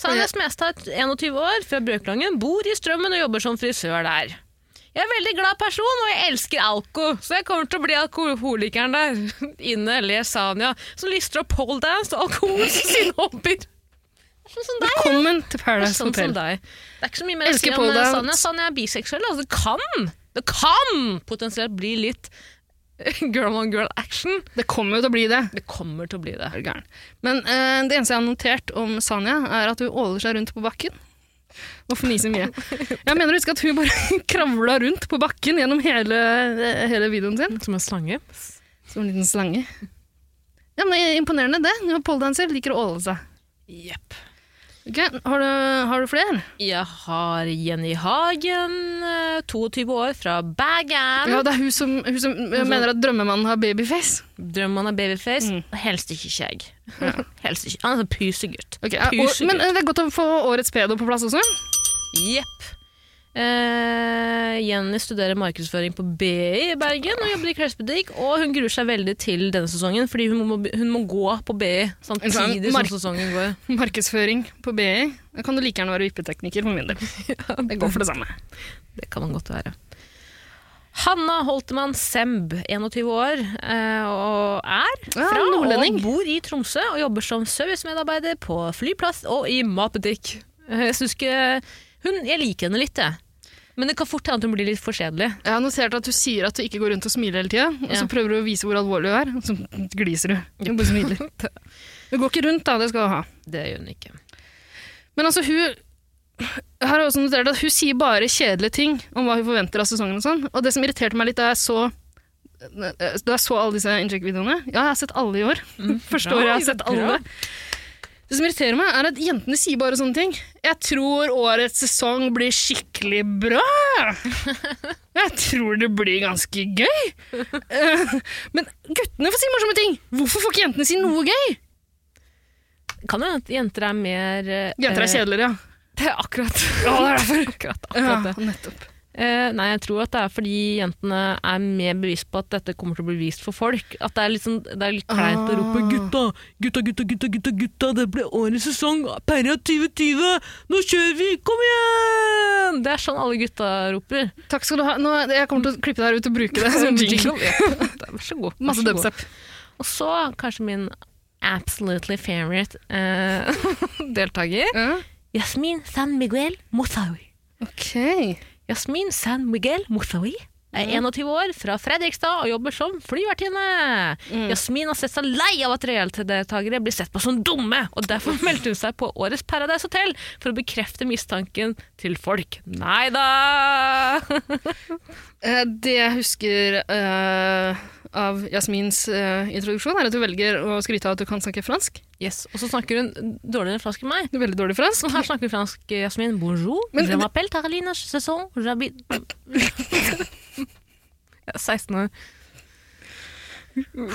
Speaker 2: Sanja
Speaker 1: Ja.
Speaker 2: Smestad, 21 år, fra Bjørkelangen, bor i Strømmen og jobber som frisør der. Jeg er en veldig glad person, og jeg elsker alko, så jeg kommer til å bli alkoholikeren der. <laughs> Inne ler Sanja, som lister opp poledance og alkohol som sine hobbyer. Sånn som deg.
Speaker 1: Velkommen til
Speaker 2: Det er
Speaker 1: Paradise
Speaker 2: sånn som
Speaker 1: Hotel.
Speaker 2: deg. Det er ikke så mye mer å si
Speaker 1: Elsker
Speaker 2: om eh,
Speaker 1: pole
Speaker 2: Sanja.
Speaker 1: dance.
Speaker 2: Sanja er biseksuell. Altså, det kan Det kan potensielt bli litt <laughs> girl on girl action.
Speaker 1: Det kommer jo til å bli det.
Speaker 2: Det kommer til å bli det.
Speaker 1: Er du gæren? Men eh, det eneste jeg har notert om Sanja, er at hun åler seg rundt på bakken. Og fniser mye. Jeg mener å huske at hun bare <laughs> kravla rundt på bakken gjennom hele, eh, hele videoen sin.
Speaker 2: Som en slange.
Speaker 1: Som en liten slange. Ja, men det er Imponerende, det. Hun er Poledanser, liker å åle seg.
Speaker 2: Jepp.
Speaker 1: Ok, Har du, har du flere?
Speaker 2: Jeg har Jenny Hagen, eh, 22 år, fra Bagan.
Speaker 1: Ja, det er hun som, hun som eh, mener at drømmemannen har babyface.
Speaker 2: Drømmen av babyface.
Speaker 1: Mm.
Speaker 2: Helst ikke skjegg. <laughs> Helst ikke. Han er en pysegutt.
Speaker 1: Ok, ja, og,
Speaker 2: Pysegutt.
Speaker 1: men eh, det er godt å få årets pedo på plass også.
Speaker 2: Jepp. Eh, Jenny studerer markedsføring på BI i Bergen og jobber i klesbutikk. Og hun gruer seg veldig til denne sesongen, fordi hun må, hun må gå på BI
Speaker 1: En
Speaker 2: samtidig
Speaker 1: sånn mark-
Speaker 2: som sesongen går.
Speaker 1: Markedsføring på BI. Da kan du like gjerne være vippetekniker for <laughs> min del. Det går for det samme.
Speaker 2: Det kan man godt være. Hanna Holtemann Semb, 21 år, eh, og er
Speaker 1: Ja,
Speaker 2: fra
Speaker 1: nordlending.
Speaker 2: og bor i Tromsø og jobber som servicemedarbeider på flyplass og i matbutikk. Eh, Jeg synes ikke hun, Jeg liker henne litt, jeg. Men det kan fort hende at hun blir litt for kjedelig.
Speaker 1: Jeg har notert at du sier at du ikke går rundt og smiler hele tida, og
Speaker 2: Ja.
Speaker 1: så prøver du å vise hvor alvorlig du er, og så gliser du. Du bare <laughs> smiler. Du går ikke rundt, da. Det skal du ha.
Speaker 2: Det gjør hun ikke.
Speaker 1: Men altså, hun jeg har også notert at hun sier bare kjedelige ting om hva hun forventer av sesongen. Og sånn. Og det som irriterte meg litt da jeg så da jeg så alle disse Incheck-videoene Ja, jeg har sett alle i år. <laughs> Første
Speaker 2: Mm, bra,
Speaker 1: året jeg har
Speaker 2: Ida,
Speaker 1: sett
Speaker 2: bra.
Speaker 1: alle. Det som irriterer meg, er at jentene sier bare sånne ting. 'Jeg tror årets sesong blir skikkelig
Speaker 2: <laughs>
Speaker 1: bra'. 'Jeg tror det blir ganske gøy'. Eh, Men guttene får si morsomme ting! Hvorfor får ikke jentene si noe gøy?
Speaker 2: Kan jo hende at jenter er mer eh,
Speaker 1: Jenter er kjedeligere, ja.
Speaker 2: Det er <laughs> akkurat.
Speaker 1: Ja, det er derfor.
Speaker 2: <laughs> akkurat, akkurat
Speaker 1: ja
Speaker 2: det.
Speaker 1: nettopp.
Speaker 2: Eh, nei, jeg tror at det er fordi jentene er mer bevisst på at dette kommer til å bli vist for folk. At det er litt, sånn, det er litt kleint å rope
Speaker 1: Ah.
Speaker 2: 'gutta, gutta, gutta, gutta, gutta, gutta, det ble årets sesong, Perra 2020, nå kjører vi, kom igjen!' Det er sånn alle gutta roper.
Speaker 1: Takk skal du ha. Nå, jeg kommer til å klippe det her ut og bruke det som sånn jingle.
Speaker 2: Jingle, ja. Vær så god. vær
Speaker 1: Masse
Speaker 2: så god.
Speaker 1: dubstep.
Speaker 2: Og så kanskje min absolutely favorite eh, <laughs> deltaker.
Speaker 1: Ja.
Speaker 2: Jasmin San Miguel Mothawi.
Speaker 1: Ok.
Speaker 2: Jasmin San Miguel Mothawi
Speaker 1: Mhm.
Speaker 2: er 21 år, fra Fredrikstad og jobber som flyvertinne.
Speaker 1: Mm.
Speaker 2: Jasmin har sett seg lei av at reality-deltakere blir sett på som dumme, og derfor <laughs> meldte hun seg på årets Paradise Hotel for å bekrefte mistanken til folk. Nei da! <laughs>
Speaker 1: Eh, Det jeg husker eh, av Jasmins eh, introduksjon, er at du velger å skryte av at du kan snakke fransk.
Speaker 2: yes, og så snakker hun dårligere fransk enn meg.
Speaker 1: Du er veldig dårlig fransk.
Speaker 2: Så her snakker vi fransk, Jasmin. Bonjour.
Speaker 1: Men-
Speaker 2: je m'appelle Carolina Chesson. J'habite
Speaker 1: <laughs>
Speaker 2: <laughs> Jeg er 16 år.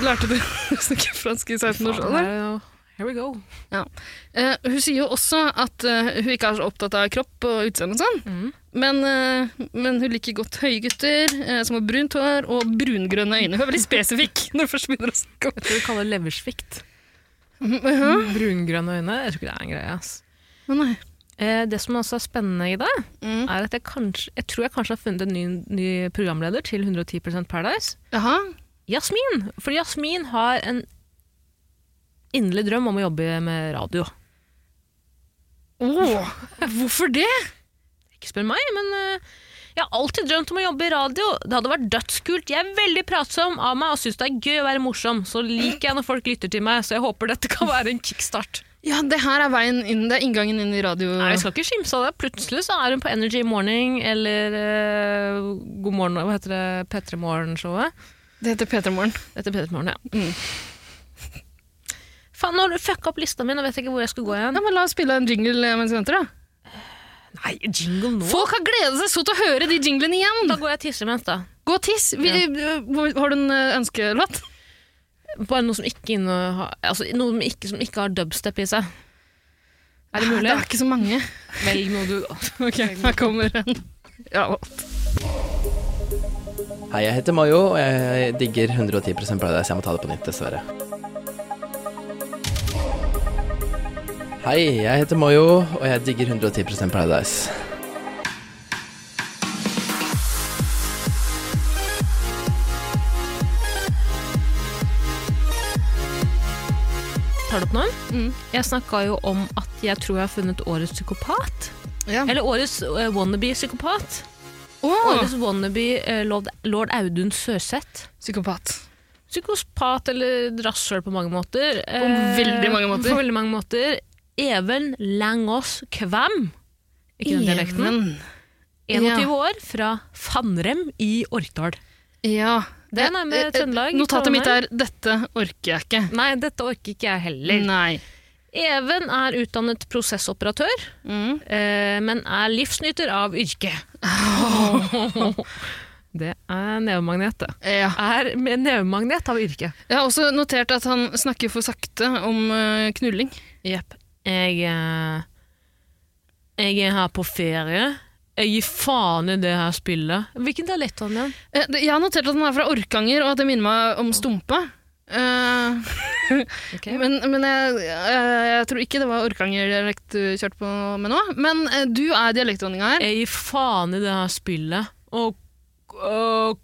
Speaker 1: Lærte du å snakke fransk i 16 års
Speaker 2: Faen,
Speaker 1: alder?
Speaker 2: her- Here we go.
Speaker 1: Eh, hun sier jo også at eh, hun ikke er så opptatt av kropp og utseende og sånn,
Speaker 2: Mm.
Speaker 1: men, eh, men hun liker godt høye gutter eh, som har brunt hår og brungrønne øyne. Hun er veldig spesifikk når hun først begynner å snakke om
Speaker 2: Jeg tror vi kaller det leversvikt.
Speaker 1: Mhm.
Speaker 2: Brungrønne øyne. Jeg tror ikke det er en greie. ass.
Speaker 1: Å, nei.
Speaker 2: Eh, det som også er spennende i det,
Speaker 1: Mm.
Speaker 2: er at jeg, kanskje, jeg tror jeg kanskje har funnet en ny, ny programleder til 110 Paradise.
Speaker 1: Jaha.
Speaker 2: Jasmin! For Jasmin har en inderlig drøm om å jobbe med radio.
Speaker 1: Åh, hvorfor det?
Speaker 2: Ikke spør meg, men eh, jeg har alltid drømt om å jobbe i radio. Det hadde vært dødskult. Jeg er veldig pratsom av meg og syns det er gøy å være morsom. Så liker jeg når folk lytter til meg, så jeg håper dette kan være en kickstart.
Speaker 1: Ja, det her er veien inn, det er inngangen inn i radio.
Speaker 2: Nei, vi skal ikke skimse av det. Plutselig så er hun på Energy Morning eller eh, God morgen, hva heter det, P3 Morgen-showet.
Speaker 1: Det heter P3 Morgen.
Speaker 2: Dette er P3 Morgen, ja. Faen, nå har du fucka opp lista mi, nå vet jeg ikke hvor jeg skulle gå igjen.
Speaker 1: Ja, men la oss spille en jingle eh, mens vi venter, da.
Speaker 2: Nei, jingle nå?
Speaker 1: Folk har gledet seg så til å høre de jinglene igjen!
Speaker 2: Da går jeg og tisser imens, da.
Speaker 1: Gå og tiss! Vi, eh, hvor- Har du en eh, ønskelåt?
Speaker 2: Bare noe som ikke, innehar- altså, noe som ikke, som ikke har dubstep i seg. Er det mulig?
Speaker 1: Det er ikke så
Speaker 2: <laughs>
Speaker 1: mange.
Speaker 2: Velg noe du
Speaker 1: Ok, her kommer en. Ja,
Speaker 6: Hei, jeg heter Mayo, og jeg digger 110 Paradise. Jeg må ta det på nytt, dessverre. Hei, jeg heter Mayo, og jeg digger 110 Paradise.
Speaker 2: tar det opp nå.
Speaker 1: Mm.
Speaker 2: Jeg snakka jo om at jeg tror jeg har funnet årets psykopat.
Speaker 1: Ja.
Speaker 2: Eller årets eh, wannabe-psykopat.
Speaker 1: Åh,
Speaker 2: Årets wannabe eh, lord, lord Audun Søseth.
Speaker 1: psykopat.
Speaker 2: Psykopat eller rasshøl på mange måter. Eh,
Speaker 1: På veldig mange måter.
Speaker 2: På veldig mange måter. Even Langås Kvam. Ikke den dialekten.
Speaker 1: Even.
Speaker 2: 21 år, fra Fannrem i Orkdal.
Speaker 1: Ja.
Speaker 2: Det er nærme
Speaker 1: Eh, eh,
Speaker 2: Trøndelag.
Speaker 1: Notatet mitt
Speaker 2: Trondheim.
Speaker 1: er 'dette orker jeg ikke'.
Speaker 2: Nei, dette orker ikke jeg heller.
Speaker 1: Nei.
Speaker 2: Mm. Even er utdannet prosessoperatør,
Speaker 1: Mm.
Speaker 2: eh, men er livsnyter av <laughs> yrke. Det er nevemagnet, det.
Speaker 1: Ja.
Speaker 2: Er med nevemagnet av yrke.
Speaker 1: Jeg har også notert at han snakker for sakte om eh, knulling.
Speaker 2: Jepp. Jeg, eh, jeg er her på ferie. Jeg gir faen i det her spillet. Hvilken dialekt har han igjen?
Speaker 1: Eh, det- Jeg har notert at han er fra Orkanger, og at det minner meg om Stumpa. Eh, <laughs> Men, men jeg, jeg, jeg tror ikke det var Orkanger-dialekt du kjørte på med nå. Men eh, du er dialektdronninga her.
Speaker 2: Jeg gir faen i det her spillet. Og, og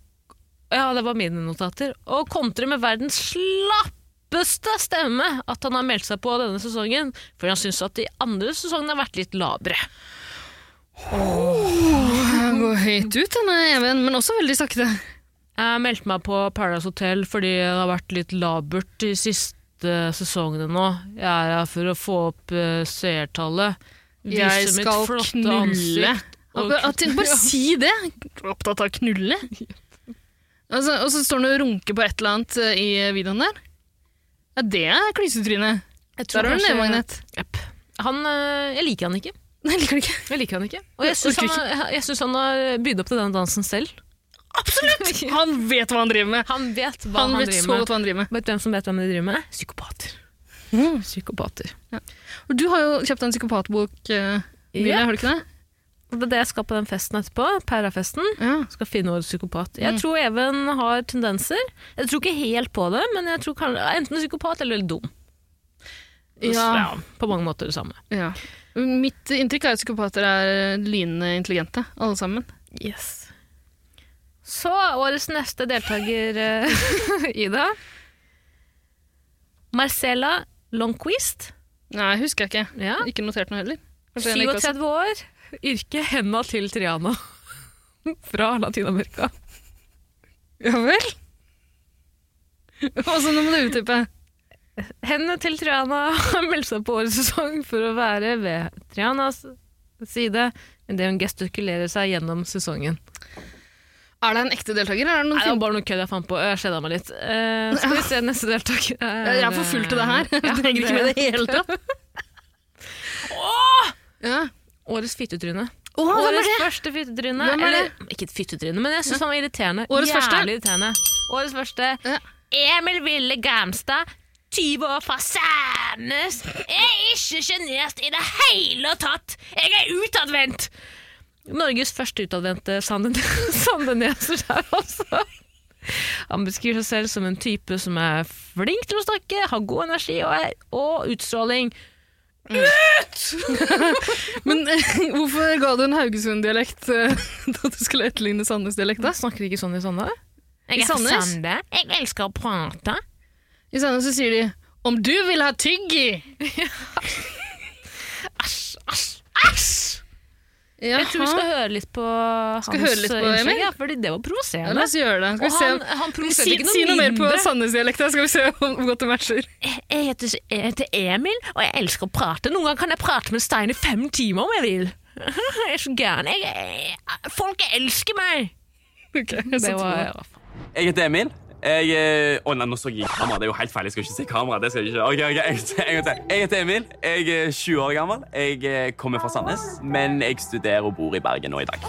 Speaker 2: Ja, det var mine notater. Og kontrer med verdens slappeste stemme at han har meldt seg på denne sesongen, for han syns at de andre sesongene har vært litt labre.
Speaker 1: Han <laughs> går høyt ut, denne Even, men også veldig sakte.
Speaker 2: Jeg meldte meg på Paradise Hotel fordi det har vært litt labert de siste sesongene nå. Jeg er her for å få opp eh, seertallet. Vise
Speaker 1: Jeg
Speaker 2: mitt
Speaker 1: skal
Speaker 2: flotte
Speaker 1: knulle.
Speaker 2: ansikt.
Speaker 1: Og,
Speaker 2: Og
Speaker 1: at, <laughs> bare si det! Opptatt av å knulle. Altså, <laughs> og så står han og runker på et eller annet eh, i videoen der. Ja, det er klysetryne.
Speaker 2: Jeg tror
Speaker 1: Der har du en
Speaker 2: kanskje-
Speaker 1: nevemagnet.
Speaker 2: Jepp. Han, eh, jeg liker han ikke.
Speaker 1: Nei, jeg liker det ikke.
Speaker 2: Jeg liker han ikke. Og jeg
Speaker 1: Jeg
Speaker 2: syns
Speaker 1: orker
Speaker 2: han, har- jeg synes han har bydd opp til den dansen selv. Absolutt!
Speaker 1: <laughs> Han vet hva han driver med!
Speaker 2: Han vet hva
Speaker 1: Han,
Speaker 2: han,
Speaker 1: vet så
Speaker 2: driver med.
Speaker 1: godt hva han driver med.
Speaker 2: Vet du hvem som vet hvem de driver med? Psykopater.
Speaker 1: Mm.
Speaker 2: Psykopater.
Speaker 1: Og Du har jo kjøpt en psykopatbok, uh,
Speaker 2: Ja.
Speaker 1: har du ikke det?
Speaker 2: Og det er det jeg skal på den festen etterpå. Perafesten.
Speaker 1: Ja.
Speaker 2: Skal finne årets psykopat. Jeg tror Even har tendenser. Jeg tror ikke helt på det, men jeg tror kan, enten psykopat eller dum.
Speaker 1: Ja.
Speaker 2: Så, på mange måter det samme.
Speaker 1: ja. Mitt inntrykk er at psykopater er lynende intelligente, alle sammen.
Speaker 2: Yes. Så årets <laughs> neste deltaker, eh, Ida. Marcela Longquist.
Speaker 1: Nei, husker jeg ikke.
Speaker 2: Ja.
Speaker 1: Ikke notert noe heller. Kanskje en ikke også.
Speaker 2: 37 år. Yrke henda til Triana. <laughs> Fra Latin-Amerika.
Speaker 1: Ja vel? <laughs> Hva så nå må du utdype?
Speaker 2: Hendene til Triana har meldt seg på årets sesong for å være ved Trianas side idet hun gestikulerer seg gjennom sesongen.
Speaker 1: Er det en ekte deltaker, eller er det noen
Speaker 2: Nei, det var
Speaker 1: fin-
Speaker 2: bare noe kødd jeg fant på. Jeg kjeda meg litt. Eh, skal vi se neste
Speaker 1: <laughs>
Speaker 2: Eh, deltaker.
Speaker 1: Jeg jeg er for full til det <laughs> her. Jeg trenger ikke med det hele <laughs> tatt. Ja.
Speaker 2: Årets fittetryne.
Speaker 1: Å, hvem er
Speaker 2: Årets
Speaker 1: det?
Speaker 2: første fittetryne.
Speaker 1: Hvem er det?
Speaker 2: Eller, ikke et fittetryne, men jeg syns han var irriterende.
Speaker 1: Årets
Speaker 2: Jævlig
Speaker 1: første?
Speaker 2: irriterende. Årets første.
Speaker 1: Ja.
Speaker 2: Emil Ville Gamstad. 20 år fra Sandnes. Jeg er ikke sjenert i det hele tatt! Jeg er utadvendt! Norges første utadvendte <laughs> sanden- sandeneser der, altså. Han beskriver seg selv som en type som er flink til å snakke, har god energi og, er, og utstråling.
Speaker 1: Men eh, <laughs> hvorfor ga du en Haugesund-dialekt eh, <laughs> da du skulle etterligne Sandnes-dialekt? da?
Speaker 2: snakker de ikke sånn i Sande?
Speaker 1: I
Speaker 2: Jeg er fra
Speaker 1: Sandnes?
Speaker 2: Sande. Jeg elsker å prate.
Speaker 1: I Sandnes så sier de 'om du vil ha <laughs> tyggi'.
Speaker 2: Æsj, æsj, æsj!
Speaker 1: Jaha.
Speaker 2: Jeg tror vi skal høre litt på
Speaker 1: Skal
Speaker 2: hans
Speaker 1: høre litt på
Speaker 2: innslag,
Speaker 1: Emil?
Speaker 2: Ja, fordi det var
Speaker 1: Ja,
Speaker 2: provoserende.
Speaker 1: la oss gjøre det. Skal
Speaker 2: Og
Speaker 1: vi se
Speaker 2: han,
Speaker 1: om...
Speaker 2: han provoserte
Speaker 1: Si,
Speaker 2: ikke
Speaker 1: si noe mer på
Speaker 2: mindre.
Speaker 1: Sandnes-dialekta, skal vi se om hvor godt det matcher. <laughs>
Speaker 2: Jeg heter, jeg heter Emil, og jeg elsker å prate. Noen ganger kan jeg prate med Stein i fem timer om jeg vil. <laughs> Jeg er så gæren. Jeg, jeg, folk elsker meg!
Speaker 1: Ok, jeg
Speaker 2: Det
Speaker 1: satte på.
Speaker 2: var
Speaker 7: Jeg heter Emil. Jeg eh, Å nei, nå så jeg i kamera. Det er jo helt feil. Jeg skal ikke si kamera. det skal Jeg ikke. Ok, ok, en gang til, en gang til. Jeg heter Emil. Jeg er 20 år gammel. Jeg eh, kommer fra Sandnes, men jeg studerer og bor i Bergen nå i dag.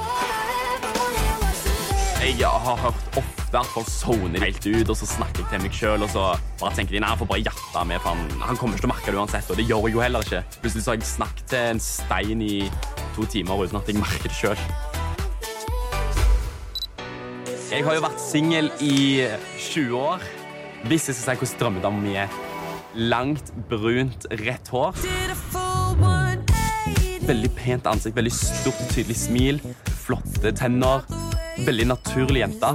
Speaker 7: Jeg har hørt ofte at folk soner helt ut, og så snakker jeg til meg sjøl, og så bare tenker de nei, han får bare hjertet med, for han, han kommer ikke til å merke det uansett, og det gjør jeg jo heller ikke. Plutselig så har jeg snakket til en stein i to timer uten at jeg merker det sjøl. Jeg har jo vært singel i 20 år. Hvis jeg skal si hvordan drømmedama mi er. Langt, brunt, rødt hår. Veldig pent ansikt, veldig stort, tydelig smil. Flotte tenner. Veldig naturlig jente.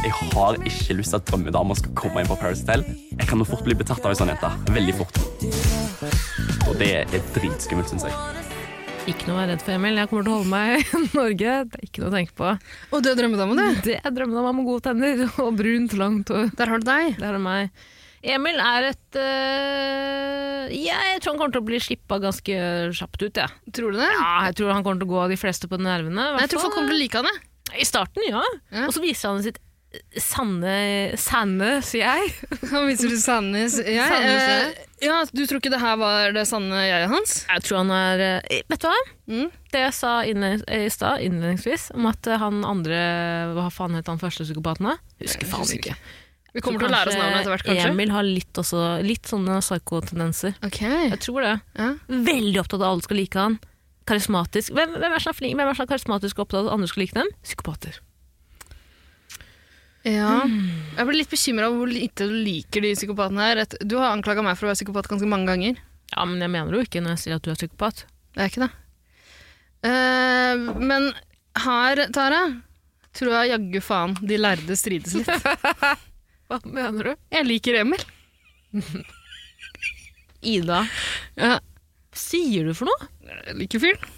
Speaker 7: Jeg har ikke lyst til at drømmedama skal komme inn på Paris Hotel. Jeg kan jo fort bli betatt av en sånn jente. Veldig fort. Og det er dritskummelt, syns jeg.
Speaker 2: Ikke noe å være redd for, Emil. Jeg kommer til å holde meg i <laughs> Norge. Det er ikke noe å tenke på.
Speaker 1: Å, du er drømmedama, du.
Speaker 2: Det er drømmen om meg med gode tenner <laughs> og brunt, langt hår.
Speaker 1: Der har du deg.
Speaker 2: Det er meg. Emil er et øh, ja, Jeg tror han kommer til å bli slippa ganske kjapt <laughs> ut. Ja.
Speaker 1: Tror du det?
Speaker 2: Ja, jeg tror han kommer til å gå de fleste på nervene. i hvert
Speaker 1: Nei, jeg tror folk
Speaker 2: fall.
Speaker 1: kommer til å like henne.
Speaker 2: I starten, ja.
Speaker 1: Ja.
Speaker 2: Og så viser han sitt eh, sanne Sanne, sier jeg.
Speaker 1: Han viser til Sandnes. Jeg,
Speaker 2: Sandnes,
Speaker 1: eh, ja, du tror ikke det her var det sanne jeg hans?
Speaker 2: Jeg tror han er øh, Vet du hva?
Speaker 1: Mm.
Speaker 2: Det jeg sa innlednings, eh, i stad, innledningsvis, om at øh, han andre Hva faen het han første psykopaten, da? Husker faen
Speaker 1: husker
Speaker 2: ikke.
Speaker 1: Vi kommer til å lære oss navnet etter hvert, kanskje.
Speaker 2: Emil har litt, også, litt sånne psykotendenser.
Speaker 1: Ok,
Speaker 2: Jeg tror det.
Speaker 1: ja.
Speaker 2: Veldig opptatt av at alle skal like han. Karismatisk. Hvem, hvem er sånn flink, hvem er sånn karismatisk og opptatt av at andre skal like dem? Psykopater.
Speaker 1: ja. Jeg ble litt bekymra over hvor lite du liker de psykopatene her. Et- Du har anklaga meg for å være psykopat ganske mange ganger.
Speaker 2: Ja, men jeg mener jo ikke når jeg sier at du er psykopat.
Speaker 1: Det er ikke det. Eh, men her, Tara, tror jeg jaggu faen de lærde strides litt. <laughs>
Speaker 2: Hva mener du?
Speaker 1: Jeg liker Emil.
Speaker 2: Ida,
Speaker 1: Ja,
Speaker 2: hva sier du for noe?
Speaker 1: jeg liker fyren.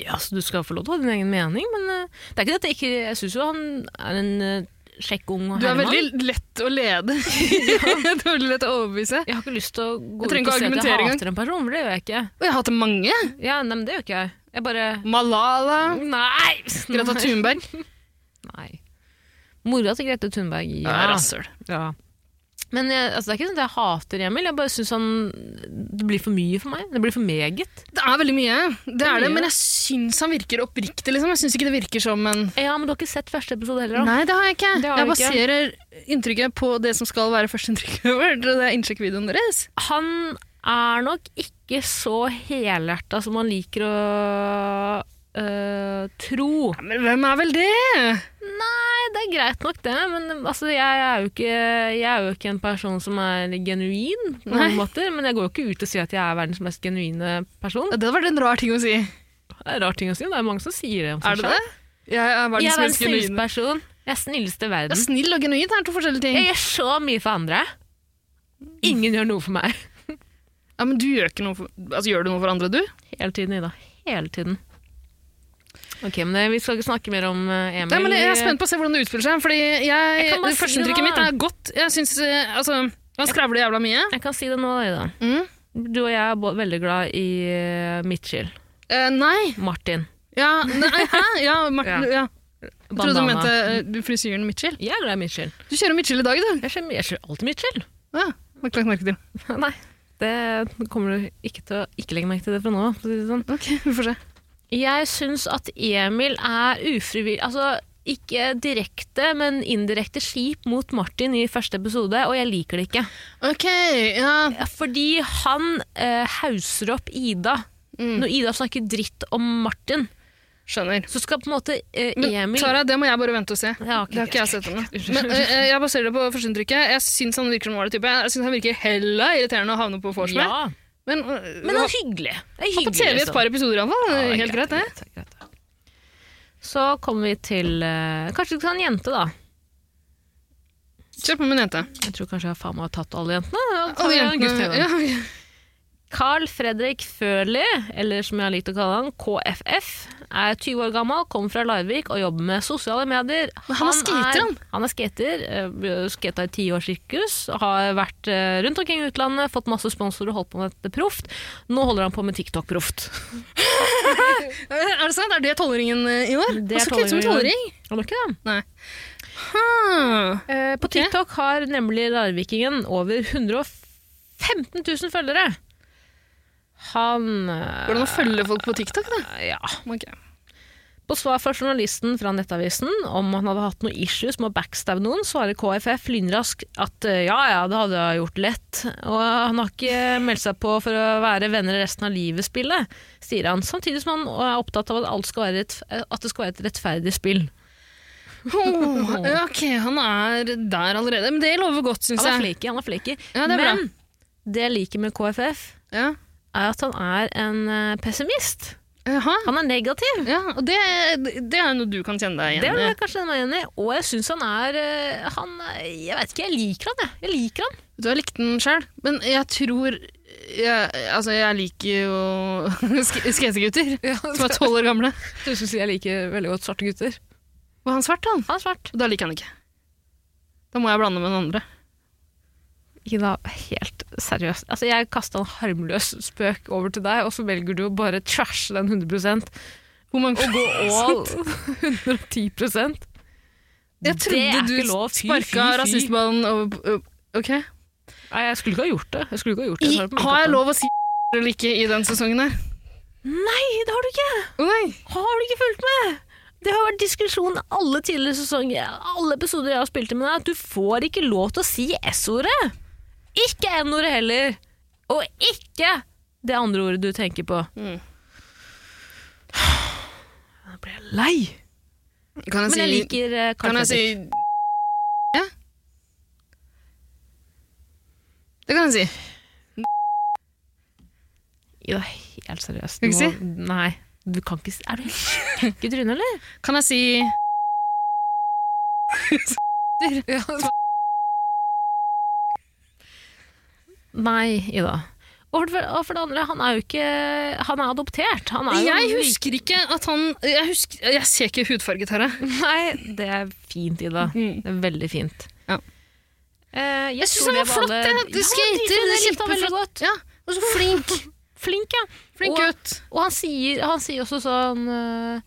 Speaker 2: Ja, så du skal få lov til å ha din egen mening, men eh, det er ikke det at jeg ikke Jeg syns jo han er en eh, kjekk ung
Speaker 1: Du er
Speaker 2: herremann.
Speaker 1: veldig lett å <laughs> lede. du er veldig lett å overbevise.
Speaker 2: Jeg har ikke lyst til å gå
Speaker 1: Jeg
Speaker 2: ut
Speaker 1: trenger
Speaker 2: og
Speaker 1: ikke
Speaker 2: si at
Speaker 1: argumentere
Speaker 2: jeg
Speaker 1: engang.
Speaker 2: hater en person, for det gjør jeg ikke.
Speaker 1: Og jeg har hatt mange.
Speaker 2: Ja, nei, men det gjør ikke jeg. Jeg bare
Speaker 1: Malala,
Speaker 2: Nei! <laughs>
Speaker 1: Greta Thunberg.
Speaker 2: Nei. Mora til Grete Thunberg, ja.
Speaker 1: Ja, Rasshøl.
Speaker 2: Ja. Men jeg, altså, det er ikke sånn at jeg hater Emil, jeg bare syns han Det blir for mye for meg. Det blir for meget.
Speaker 1: Det er veldig mye, det er det,
Speaker 2: mye.
Speaker 1: men jeg syns han virker oppriktig. Liksom. Jeg syns ikke det virker som en
Speaker 2: Ja, men du har ikke sett første episode heller, da.
Speaker 1: Nei, det har jeg ikke.
Speaker 2: Det har
Speaker 1: jeg
Speaker 2: du ikke.
Speaker 1: baserer inntrykket på det som skal være <laughs> førsteinntrykket vårt, og det er innsjekkvideoen deres.
Speaker 2: Han er nok ikke så helhjerta som han liker å øh, tro.
Speaker 1: Men hvem er vel det?
Speaker 2: Nei, det er greit nok, det, men altså, jeg, er jo ikke, jeg er jo ikke en person som er genuin på
Speaker 1: Nei.
Speaker 2: noen måter. Men jeg går jo ikke ut og sier at jeg er verdens mest genuine person.
Speaker 1: Det var en rar ting å si.
Speaker 2: Det er en rar ting å si, det er mange som sier det om
Speaker 1: Er
Speaker 2: seg
Speaker 1: det det? Jeg er
Speaker 2: Jeg
Speaker 1: verdens
Speaker 2: er verdens
Speaker 1: mest
Speaker 2: snilleste
Speaker 1: genuine.
Speaker 2: person. Jeg er snilleste i
Speaker 1: Ja,
Speaker 2: verden.
Speaker 1: Snill og genuin er to forskjellige ting.
Speaker 2: Jeg gjør så mye for andre. Ingen gjør noe for meg.
Speaker 1: Ja, men du gjør ikke noe for Altså, gjør du noe for andre, du?
Speaker 2: Hele tiden, Ida. Hele tiden. Ok, men det, vi skal ikke snakke mer om eh, Emil.
Speaker 1: Nei, men jeg er spent på å se hvordan det utspiller seg, fordi jeg, det
Speaker 2: kan bare si det,
Speaker 1: førsteinntrykket
Speaker 2: da.
Speaker 1: mitt er godt. Jeg syns eh, Altså, han skravler jævla mye.
Speaker 2: Jeg kan si det nå, Ida.
Speaker 1: Mm.
Speaker 2: Du og jeg er bå- veldig glad i eh, Mitchell.
Speaker 1: Eh, nei.
Speaker 2: Martin.
Speaker 1: Ja, nei, hæ? Ja, Martin, ja. Jeg trodde du
Speaker 2: Bandana.
Speaker 1: mente eh, frisyren Mitchell.
Speaker 2: Jeg er glad i Mitchell.
Speaker 1: Du kjører Mitchell i dag, du.
Speaker 2: Jeg kjører, jeg kjører alltid Mitchell.
Speaker 1: Ja, har ikke lagt merke til.
Speaker 2: <laughs> Nei, det kommer du ikke til å ikke legge merke til det fra nå. av, For å si det sånn.
Speaker 1: Ok, <laughs> vi får se.
Speaker 2: Jeg syns at Emil er ufrivillig Altså ikke direkte, men indirekte skip mot Martin i første episode, og jeg liker det ikke.
Speaker 1: Ok, ja.
Speaker 2: Fordi han eh, hauser opp Ida.
Speaker 1: Mm.
Speaker 2: Når Ida snakker dritt om Martin,
Speaker 1: Skjønner.
Speaker 2: så skal på en måte eh,
Speaker 1: Men
Speaker 2: Emil
Speaker 1: Tara, det må jeg bare vente og se.
Speaker 2: Ja, ok,
Speaker 1: det har ikke
Speaker 2: ok,
Speaker 1: jeg sett ennå. Men eh, eh, jeg baserer det på førsteinntrykket. Jeg syns han virker som ålreit type. Jeg syns han virker hella irriterende å havne på vors med.
Speaker 2: Ja,
Speaker 1: Men, uh,
Speaker 2: men han er hyggelig. Det er
Speaker 1: på
Speaker 2: hyggelig,
Speaker 1: TV i et
Speaker 2: liksom.
Speaker 1: par episoder iallfall.
Speaker 2: Ja, det er
Speaker 1: Helt greit, det.
Speaker 2: det er greit, det er greit. Så kommer vi til eh, Kanskje du kan ha en jente, da.
Speaker 1: Kjør på med en jente.
Speaker 2: Jeg tror kanskje jeg faen meg har tatt alle jentene. Ja, ta
Speaker 1: Alle
Speaker 2: en gutt
Speaker 1: jentene.
Speaker 2: til, da.
Speaker 1: Ja, ok.
Speaker 2: Carl Fredrik Førli, eller som jeg har likt å kalle han, KFF, er 20 år gammel, kommer fra Larvik og jobber med sosiale medier.
Speaker 1: Men han er skater, han.
Speaker 2: Han er skater, eh, skata i ti år sirkus, har vært eh, rundt omkring i utlandet, fått masse sponsorer, holdt på med dette proft. Nå holder han på med TikTok-proft.
Speaker 1: Er det sant? Er det tolvringen eh, i år?
Speaker 2: Det er
Speaker 1: Han skal ut som
Speaker 2: tolvringen.
Speaker 1: tolvring.
Speaker 2: Han gjør ikke det?
Speaker 1: Nei. Hmm.
Speaker 2: Eh, på TikTok har nemlig larvikingen over 115 000 følgere. Han eh,
Speaker 1: Går det an å følge folk på TikTok, da?
Speaker 2: Ja.
Speaker 1: Ok.
Speaker 2: På svar fra journalisten fra Nettavisen om han hadde hatt noen issues med å backstabbe noen, svarer KFF lynrask at eh, ja ja, det hadde jeg gjort lett. Og han har ikke meldt seg på for å være venner resten av livet-spillet, sier han. Samtidig som han er opptatt av at, alt skal være et, at det skal være et rettferdig spill.
Speaker 1: Oh, ok, han er der allerede. Men det lover godt, syns
Speaker 2: Han er
Speaker 1: jeg.
Speaker 2: flaky, han er flaky.
Speaker 1: Ja, det er bra.
Speaker 2: Men det jeg liker med KFF,
Speaker 1: Ja.
Speaker 2: er at han er en eh, pessimist.
Speaker 1: Jaha.
Speaker 2: Han er negativ.
Speaker 1: Eh, Ja, og det, det er jo noe du kan kjenne deg
Speaker 2: Det
Speaker 1: igjen
Speaker 2: er
Speaker 1: i.
Speaker 2: jeg kanskje meg enig i. Og jeg syns han er eh, han, Jeg vet ikke, jeg liker han, jeg. Jeg liker han.
Speaker 1: Vet Du har likt den sjøl, men jeg tror jeg, Altså, jeg liker jo <laughs> sk skategutter som er tolv år gamle.
Speaker 2: Du syns jeg liker veldig godt svarte gutter?
Speaker 1: Var han svart, han?
Speaker 2: Han er svart.
Speaker 1: Da liker jeg han ikke. Da må jeg blande med den andre.
Speaker 2: Ikke da, helt seriøst. Altså, jeg kasta en harmløs spøk over til deg, og så velger du å bare trashe den 100
Speaker 1: Hvor mange
Speaker 2: og gå <laughs> all 110 Det
Speaker 1: <laughs> Jeg
Speaker 2: er
Speaker 1: trodde
Speaker 2: ikke
Speaker 1: du
Speaker 2: lov. Fy,
Speaker 1: sparka
Speaker 2: fy, fy.
Speaker 1: rasistballen over Ok.
Speaker 2: Nei, jeg skulle ikke ha gjort det. Jeg skulle ikke ha gjort det.
Speaker 1: I,
Speaker 2: Jeg tar det på min
Speaker 1: har jeg
Speaker 2: kappe.
Speaker 1: lov å si <laughs> eller ikke i den sesongen her?
Speaker 2: Nei, det har du ikke!
Speaker 1: Å nei!
Speaker 2: Har du ikke fulgt med? Det har vært diskusjon alle tidligere sesonger, alle episoder jeg har spilt i med deg, at du får ikke lov til å si S-ordet. Ikke N-ordet heller. Og ikke det andre ordet du tenker på.
Speaker 1: Mm.
Speaker 2: Nå ble jeg lei.
Speaker 1: Kan jeg
Speaker 2: Men jeg
Speaker 1: si
Speaker 2: liker eh, Carl
Speaker 1: Kan jeg si
Speaker 2: Fredrik.
Speaker 1: Ja? Det kan jeg si.
Speaker 2: Ja, helt seriøst.
Speaker 1: Skal jeg
Speaker 2: nå-
Speaker 1: si?
Speaker 2: Nei. Du kan ikke si Er du helt sjuk i trynet, eller?
Speaker 1: Kan jeg si <laughs>
Speaker 2: Nei, Ida. Og for, og for det andre, han er jo ikke Han er adoptert. Han er jo
Speaker 1: Jeg husker ikke at han Jeg, husker, jeg ser ikke hudfarget her, jeg.
Speaker 2: Nei, det er fint, Ida. Det er veldig fint.
Speaker 1: Ja.
Speaker 2: Eh, jeg
Speaker 1: Jeg syns han
Speaker 2: Mm. tror
Speaker 1: var flott,
Speaker 2: alle-
Speaker 1: jeg.
Speaker 2: Ja,
Speaker 1: Du skater,
Speaker 2: dritflott,
Speaker 1: det er
Speaker 2: jeg likte han veldig
Speaker 1: kjempeflott.
Speaker 2: godt.
Speaker 1: Ja, og så flink.
Speaker 2: Flink, ja.
Speaker 1: Flink
Speaker 2: Og-
Speaker 1: gutt.
Speaker 2: Og han sier, han sier også sånn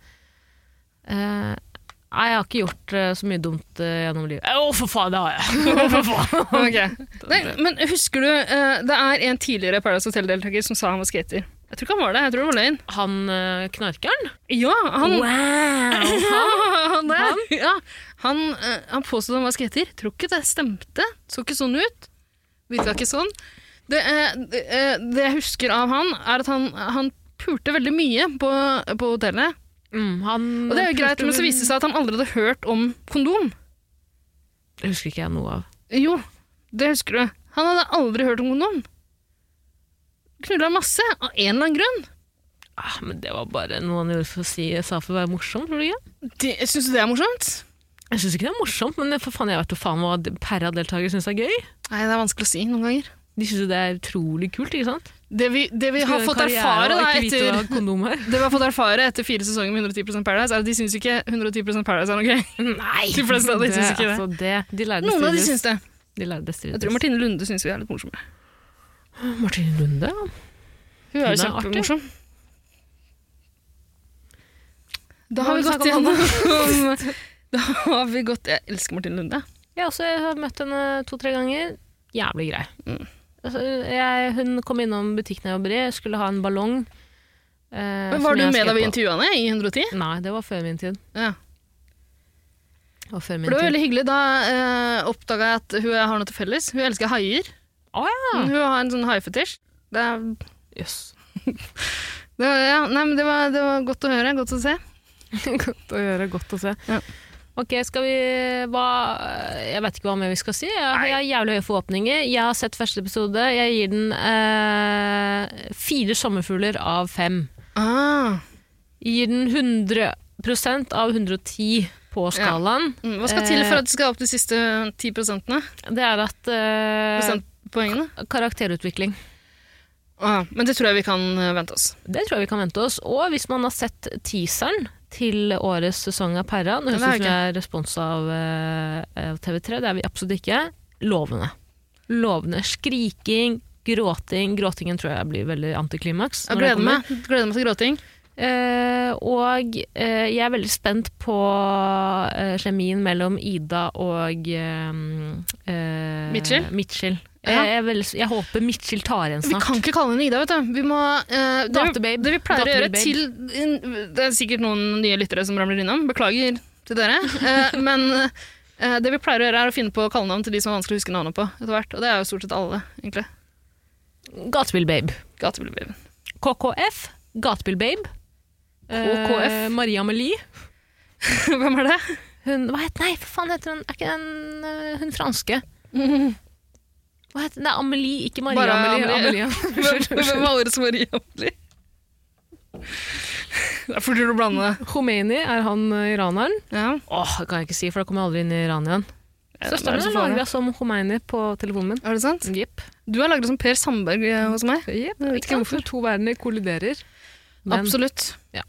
Speaker 2: eh, eh, Nei, jeg har ikke gjort eh, så mye dumt eh, gjennom livet. Å, for faen, det har jeg! Å, for faen. <laughs>
Speaker 1: Nei, men husker du eh, Det er en tidligere Paradise Hotel-deltaker som sa han var skater. Jeg tror ikke han var det. jeg tror det var løgn.
Speaker 2: Han eh, knarkeren?
Speaker 1: Ja, han
Speaker 2: Wow!
Speaker 1: Han der. Ja, han, eh, han påstod han var skater. Tror ikke det stemte. Så ikke sånn ut. Virka ikke sånn. Det, eh, det, eh, det jeg husker av han, er at han, han pulte veldig mye på, på hotellet.
Speaker 2: Mm, han
Speaker 1: Og det er jo greit, men så viste det seg at han aldri hadde hørt om kondom.
Speaker 2: Det husker ikke jeg noe av.
Speaker 1: Jo, det husker du. Han hadde aldri hørt om kondom. Knulla masse, av en eller annen grunn.
Speaker 2: Ah, men det var bare noe han gjorde for å si, sa for å være morsom, tror du ikke?
Speaker 1: Det, syns du det er morsomt?
Speaker 2: Jeg syns ikke det er morsomt, men for faen, jeg vet jo faen hva Perra-deltakere syns er gøy.
Speaker 1: Nei, det er vanskelig å si noen ganger.
Speaker 2: De syns jo det er utrolig kult, ikke sant?
Speaker 1: Det vi, det vi har
Speaker 2: Gjøre
Speaker 1: fått
Speaker 2: karriere
Speaker 1: erfare
Speaker 2: og
Speaker 1: da,
Speaker 2: ikke vite
Speaker 1: etter
Speaker 2: hva kondom
Speaker 1: <laughs>
Speaker 2: er.
Speaker 1: det vi har fått erfare etter fire sesonger med 110 Paradise, er at de syns ikke 110 Paradise er noe gøy.
Speaker 2: Nei!
Speaker 1: De fleste av de syns ikke det.
Speaker 2: Altså, det de lærde
Speaker 1: Noen av de
Speaker 2: strides.
Speaker 1: syns det.
Speaker 2: De lærde strides.
Speaker 1: Jeg tror Martine Lunde syns vi er litt morsomme.
Speaker 2: Martine Lunde.
Speaker 1: <laughs>
Speaker 2: ja.
Speaker 1: Hun er
Speaker 2: Hun
Speaker 1: jo
Speaker 2: er artig.
Speaker 1: kjempemorsom. Da har vi
Speaker 2: Hva
Speaker 1: gått
Speaker 2: vil du <laughs>
Speaker 1: gjennom <laughs> Da har vi gått Jeg elsker Martine Lunde.
Speaker 2: Jeg også har møtt henne to-tre ganger. Jævlig grei.
Speaker 1: Mm.
Speaker 2: Altså, jeg, hun kom innom butikken jeg jobber i, jeg skulle ha en ballong. eh,
Speaker 1: Men
Speaker 2: som
Speaker 1: Var du
Speaker 2: jeg
Speaker 1: med
Speaker 2: skrev
Speaker 1: da vi
Speaker 2: på.
Speaker 1: intervjua henne i 110?
Speaker 2: Nei, det var før min tid.
Speaker 1: Ja.
Speaker 2: Det var før min
Speaker 1: For det var
Speaker 2: tid.
Speaker 1: veldig hyggelig. Da eh, oppdaga jeg at hun og jeg har noe til felles. Hun elsker haier.
Speaker 2: Å ja!
Speaker 1: Hun har en sånn haifetisj. Det, er-
Speaker 2: Jøss.
Speaker 1: <laughs> det, var- ja, nei, men det, var- det var godt å høre. Godt å <laughs> se.
Speaker 2: godt å gjøre, godt å se.
Speaker 1: Ja.
Speaker 2: Ok, skal vi hva, Jeg vet ikke hva mer vi skal si. Jeg, jeg har jævlig høye forhåpninger. Jeg har sett første episode. Jeg gir den eh, fire sommerfugler av fem.
Speaker 1: Ah,
Speaker 2: Jeg gir den 100 av 110 på skalaen.
Speaker 1: mm, hva skal til for
Speaker 2: Eh.
Speaker 1: at du skal opp de siste 10 prosentene?
Speaker 2: Det er at eh,
Speaker 1: Prosentpoengene?
Speaker 2: Karakterutvikling.
Speaker 1: Ah, men det tror jeg vi kan eh, vente oss.
Speaker 2: Det tror jeg vi kan vente oss. Og hvis man har sett teaseren til årets sesong av Perra Nå
Speaker 1: Den
Speaker 2: husker
Speaker 1: har
Speaker 2: jeg
Speaker 1: jeg
Speaker 2: ikke det er respons av eh, av TV3, det er vi absolutt ikke. Lovende. Lovende. Skriking, gråting. Gråtingen tror jeg blir veldig antiklimaks.
Speaker 1: Jeg
Speaker 2: når det
Speaker 1: gleder
Speaker 2: kommer.
Speaker 1: meg, gleder meg til gråting.
Speaker 2: Eh, og eh, jeg er veldig spent på eh, kjemien mellom Ida og eh, eh,
Speaker 1: Mitchell?
Speaker 2: Mitchell.
Speaker 1: Ja.
Speaker 2: Jeg, jeg, er veldig, jeg håper Mitchell tar igjen
Speaker 1: Vi
Speaker 2: snart.
Speaker 1: kan ikke kalle henne Ida, vet du. Vi må, eh, det, vi-
Speaker 2: Datababe.
Speaker 1: det vi pleier å gjøre
Speaker 2: Datababe.
Speaker 1: til Det er sikkert noen nye lyttere som ramler innom. Beklager til dere.
Speaker 2: <laughs>
Speaker 1: Eh, men eh, det vi pleier å gjøre, er å finne på kallenavn til de som er vanskelig å huske navnet på etter hvert. Og det er jo stort sett alle, egentlig.
Speaker 2: Gatebil Babe.
Speaker 1: Gatebilbaby.
Speaker 2: KKF, Gatebil Babe.
Speaker 1: KKF?
Speaker 2: Eh, Maria Amelie.
Speaker 1: <laughs> Hvem er det?
Speaker 2: Hun, hva heter, nei, for faen heter hun? Er ikke den eh, hun <laughs> franske? Hva heter Det er Amelie, ikke Maria
Speaker 1: Bare
Speaker 2: Amelie.
Speaker 1: Amelie.
Speaker 2: Amelie. <laughs>
Speaker 1: Hvem, hvem er årets Maria Amelie? Det er for dyrt å blande det.
Speaker 2: Khomeini, er han eh, iraneren?
Speaker 1: Ja.
Speaker 2: Åh, det kan jeg ikke si, for da kommer jeg aldri inn i Iran igjen. Søsteren min lagra som Khomeini på telefonen min.
Speaker 1: Er det sant?
Speaker 2: Jepp.
Speaker 1: Du har lagret som Per Sandberg eh, hos meg.
Speaker 2: Jepp.
Speaker 1: vet ikke
Speaker 2: Ikke sant?
Speaker 1: hvorfor.
Speaker 2: To verdener kolliderer. Men
Speaker 1: Absolutt.
Speaker 2: skal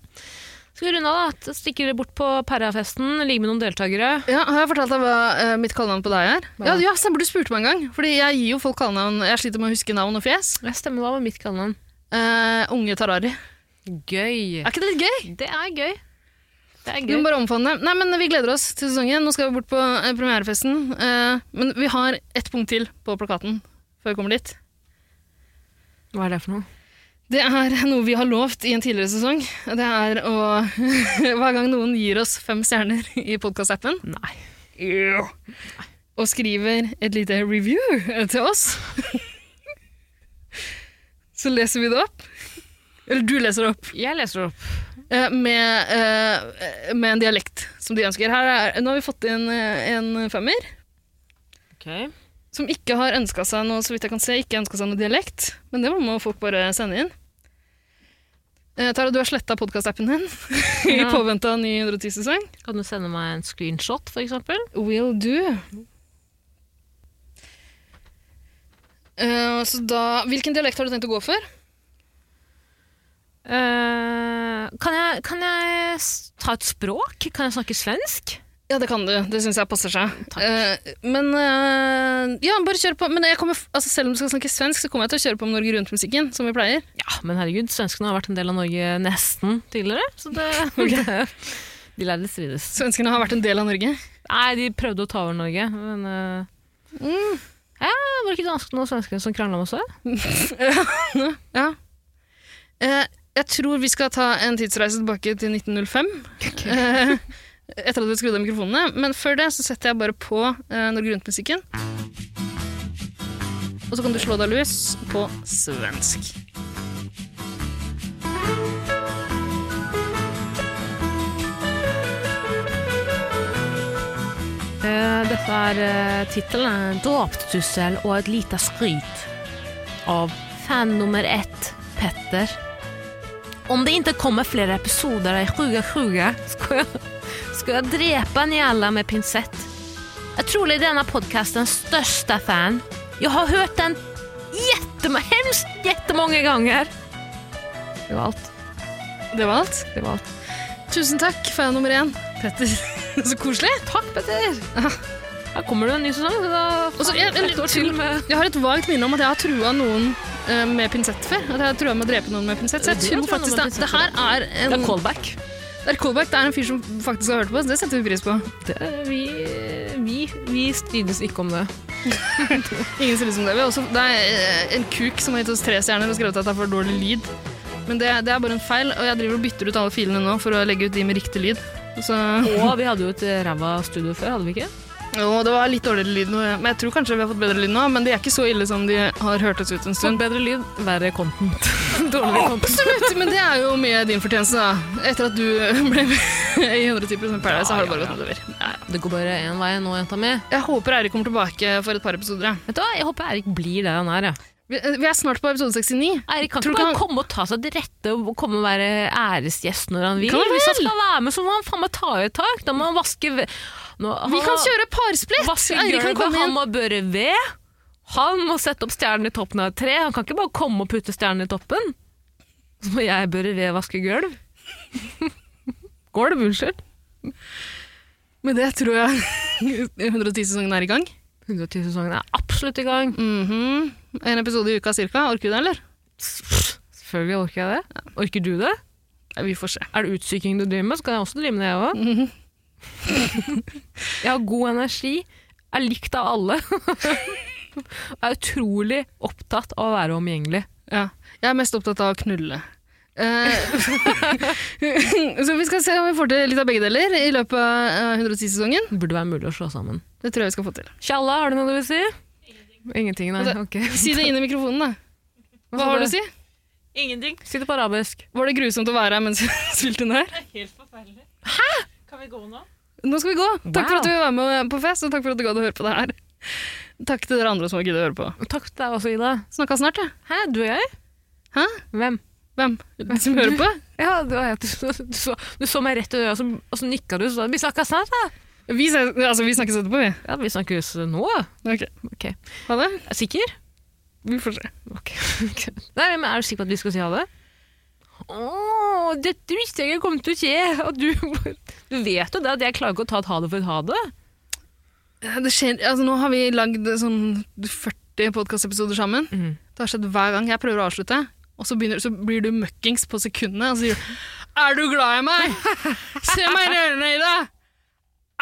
Speaker 2: vi runde av, da? Stikker bort på Perra-festen, ligge med noen deltakere.
Speaker 1: Ja, Har jeg fortalt deg hva eh, mitt kallenavn på deg er? Ja, ja, stemmer, du spurte meg en gang. Fordi jeg gir jo folk kallenavn. Jeg sliter med å huske navn og fjes.
Speaker 2: Jeg stemmer hva med mitt kallenavn.
Speaker 1: Eh, unge Tarari.
Speaker 2: Gøy.
Speaker 1: Er ikke det litt gøy?
Speaker 2: Det er gøy. Det er
Speaker 1: Vi
Speaker 2: gøy.
Speaker 1: må bare omfavne det. Nei, men Vi gleder oss til sesongen. Nå skal vi bort på eh, premierefesten. Eh, men vi har ett punkt til på plakaten før vi kommer dit.
Speaker 2: Hva er det for noe?
Speaker 1: Det er noe vi har lovt i en tidligere sesong. Det er å <laughs> Hver gang noen gir oss fem stjerner i podkastappen
Speaker 2: Nei.
Speaker 1: og skriver et lite review til oss, så leser vi det opp. Eller du leser det opp.
Speaker 2: Jeg leser det opp.
Speaker 1: eh, Med, eh, med en dialekt som de ønsker. Her er, nå har vi fått inn eh, en femmer som ikke har ønska seg noe, så vidt jeg kan se, ikke ønsket seg noe dialekt. Men det må folk bare sende inn. Eh, Tara, du har sletta podkastappen din <laughs> i
Speaker 2: Ja.
Speaker 1: påvente av ny 110-sesong.
Speaker 2: Kan du sende meg en screenshot, for eksempel?
Speaker 1: Will do. Eh, så da, hvilken dialekt har du tenkt å gå for?
Speaker 2: Eh, kan, jeg, kan jeg s- ta et språk? Kan jeg snakke svensk?
Speaker 1: Ja, det kan du. Det syns jeg passer seg.
Speaker 2: Takk.
Speaker 1: Eh, men eh, ja, bare kjør på. Men jeg kommer, f- altså, selv om du skal snakke svensk, så kommer jeg til å kjøre på med Norge Rundt-musikken, som vi pleier.
Speaker 2: Ja, men herregud, svenskene har vært en del av Norge nesten tidligere, så det, <laughs> De lærde strides.
Speaker 1: Svenskene har vært en del av Norge.
Speaker 2: Nei, de prøvde å ta over Norge, men eh, ja, Var det ikke danskene og svenskene som krangla om oss? også?
Speaker 1: Ja. Eh, jeg tror vi skal ta en tidsreise tilbake til 1905. Eh, etter at vi skrudde av mikrofonene. Men før det så setter jeg bare på eh, Norge Rundt-musikken. Og så kan du slå deg løs på svensk.
Speaker 2: Eh, dette er eh, tittelen er 'Drapstussel og et lite skryt' av fan nummer ett, Petter. Om det ikke kommer flere episoder i 2020 skal jeg, skulle jag drepa en jävla med pinsett. Jag tror det är denna podcastens största fan. Jag har hört den jättemånga, hemskt jättemånga gånger. Det var allt.
Speaker 1: Det var alt.
Speaker 2: Det var allt.
Speaker 1: Tusen takk, fan nummer én, Petter. <laughs> Så koselig.
Speaker 2: Takk,
Speaker 1: <laughs>
Speaker 2: Petter! Her kommer det en ny sesong. så Da,
Speaker 1: Og så en- en
Speaker 2: ett år
Speaker 1: til-
Speaker 2: til med
Speaker 1: Jeg har et vagt minne om at jeg har trua noen eh, med pinsett før. At jeg har trua med å drepe noen med pinsett. Så jeg
Speaker 2: Du
Speaker 1: tror
Speaker 2: har trua noen
Speaker 1: faktisk
Speaker 2: med
Speaker 1: det,
Speaker 2: pinsett
Speaker 1: det her er en
Speaker 2: en callback.
Speaker 1: Det er callback. Det er en fyr som faktisk har hørt på oss. Det setter vi pris på.
Speaker 2: Eh, Vi, vi, vi strides ikke om det.
Speaker 1: Ingen ser ut som det. Vi har også, det er eh, en kuk som har gitt oss tre stjerner og skrevet at det er for dårlig lyd. Men det, det er bare en feil, og jeg driver og bytter ut alle filene nå for å legge ut de med riktig lyd. Så,
Speaker 2: Og vi hadde jo et eh, ræva studio før, hadde vi ikke?
Speaker 1: og det var litt dårligere lyd nå, men jeg tror kanskje vi har fått bedre lyd nå. Men de er ikke så ille som de har hørtes ut en
Speaker 2: <laughs> Sånn
Speaker 1: stund.
Speaker 2: bedre lyd, verre content. Dårligere content.
Speaker 1: Absolutt, men det er jo mye din fortjeneste, da. Etter at du <laughs> ble med i 110 Paradise, så har det bare gått nedover. Ja, ja.
Speaker 2: Det går bare én vei nå, jenta mi.
Speaker 1: Jeg håper Eirik kommer tilbake for et par episoder. Ja.
Speaker 2: Vet du hva, Jeg håper Eirik blir det han er. Ja.
Speaker 1: Vi, eh, vi er snart på episode 69.
Speaker 2: Eirik kan
Speaker 1: Tror du
Speaker 2: ikke bare
Speaker 1: ikke han-
Speaker 2: komme og ta seg til rette og komme og være æresgjest når han vil.
Speaker 1: Kan han
Speaker 2: Hvis han
Speaker 1: vel?
Speaker 2: skal være med, så må han faen meg ta i et tak. Da må han vaske ved. Nå,
Speaker 1: Vi
Speaker 2: han
Speaker 1: kan
Speaker 2: har-
Speaker 1: kjøre parsplitt!
Speaker 2: Vaske
Speaker 1: Eirik kan
Speaker 2: gulvet,
Speaker 1: komme
Speaker 2: han
Speaker 1: inn.
Speaker 2: må børe ved. Han må sette opp stjernen i toppen av et tre. Han kan ikke bare komme og putte stjernen i toppen. Så må jeg børe ved og vaske gulv. <laughs> Gulv, unnskyld.
Speaker 1: Med det tror jeg <laughs> 110-sesongen er i gang.
Speaker 2: 110-sesongen er absolutt i gang.
Speaker 1: Mhm. En episode i uka cirka. Orker du det, eller?
Speaker 2: Selvfølgelig orker jeg det. Orker du det?
Speaker 1: Nei, vi får se.
Speaker 2: Er det utsyking du driver med, så kan jeg også drive med det, jeg òg.
Speaker 1: Mhm.
Speaker 2: <laughs> jeg har god energi, er likt av alle. <laughs> er utrolig opptatt av å være omgjengelig.
Speaker 1: Ja. Jeg er mest opptatt av å knulle. Eh, <laughs> så vi skal se om vi får til litt av begge deler i løpet av eh, 110-sesongen.
Speaker 2: Det burde være mulig å slå sammen.
Speaker 1: Det tror jeg vi skal få til.
Speaker 2: Tjalla, har du noe du vil si? Ingenting, nei.
Speaker 1: Altså,
Speaker 2: Ok.
Speaker 1: Si det inn i mikrofonen, da. Hva har du å si?
Speaker 4: Ingenting.
Speaker 2: Si det på arabisk.
Speaker 1: Var det grusomt å være her mens vi <laughs> spilte inn her?
Speaker 4: Det er helt forferdelig. Hæ? Kan vi gå nå?
Speaker 1: Nå skal vi gå. Takk for
Speaker 2: Wow.
Speaker 1: at du var med på fest, og takk for at du gadd å høre på det her. Takk til dere andre som har giddet å høre på.
Speaker 2: Og Takk til deg også, Ida.
Speaker 1: Snakka snart, jeg.
Speaker 2: Hæ, du og jeg?
Speaker 1: Hæ?
Speaker 2: Hvem?
Speaker 1: Hvem? Som hører på?
Speaker 2: Ja, det var jeg. Du, så- du, så, du så meg rett i øya, og så, og så nikka du. Så, vi snakkes snart, da.
Speaker 1: Vi, ses, altså, vi snakkes etterpå, vi.
Speaker 2: Ja, vi snakkes nå.
Speaker 1: Ok.
Speaker 2: Ok.
Speaker 1: Ha det.
Speaker 2: Er du sikker?
Speaker 1: Vi får se.
Speaker 2: Ok. ok. Nei, men Er du sikker på at vi skal si ha det? Åh, dette visste jeg ikke kom til å skje. Og du, du vet jo det at jeg klarer ikke å ta et ha det for et ha det.
Speaker 1: Det skjer, altså, nå har vi lagd sånn 40 podkastepisoder sammen.
Speaker 2: Mhm.
Speaker 1: Det har skjedd hver gang jeg prøver å avslutte. Og så, begynner, så blir du møkkings på sekundet og så sier du Er du glad i meg? Se meg i ørene, Ida!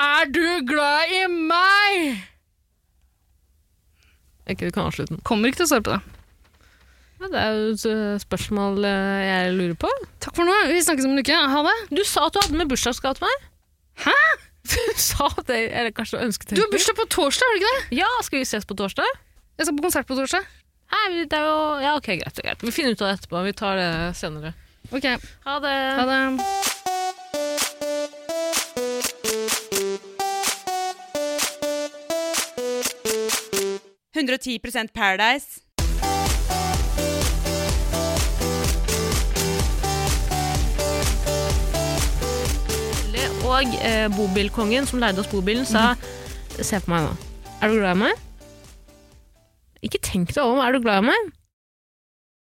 Speaker 1: Er du glad i meg?
Speaker 2: Ikke, du kan avslutte den.
Speaker 1: Kommer ikke til å svare på det.
Speaker 2: Ja, det er jo et eh, spørsmål eh, jeg lurer på.
Speaker 1: Takk for nå. Vi snakkes om en uke. Ha det.
Speaker 2: Du sa at du hadde med bursdagsgave til meg.
Speaker 1: Hæ?
Speaker 2: <laughs> Du sa det, eller kanskje ønsket
Speaker 1: Du har bursdag på torsdag, har du ikke det?
Speaker 2: Ja, skal vi ses på torsdag?
Speaker 1: Jeg skal på konsert på torsdag.
Speaker 2: Hei, vi- det er jo... Ja, ok, greit, greit. Vi finner ut av det etterpå. Vi tar det senere.
Speaker 1: Ok,
Speaker 2: Ha det!
Speaker 1: ha det.
Speaker 4: Paradise.
Speaker 2: Og eh, bobilkongen som leide oss bobilen, sa
Speaker 1: Mhm.
Speaker 2: Se på meg nå. Er du glad i meg? Ikke tenk deg om. Er du glad i meg?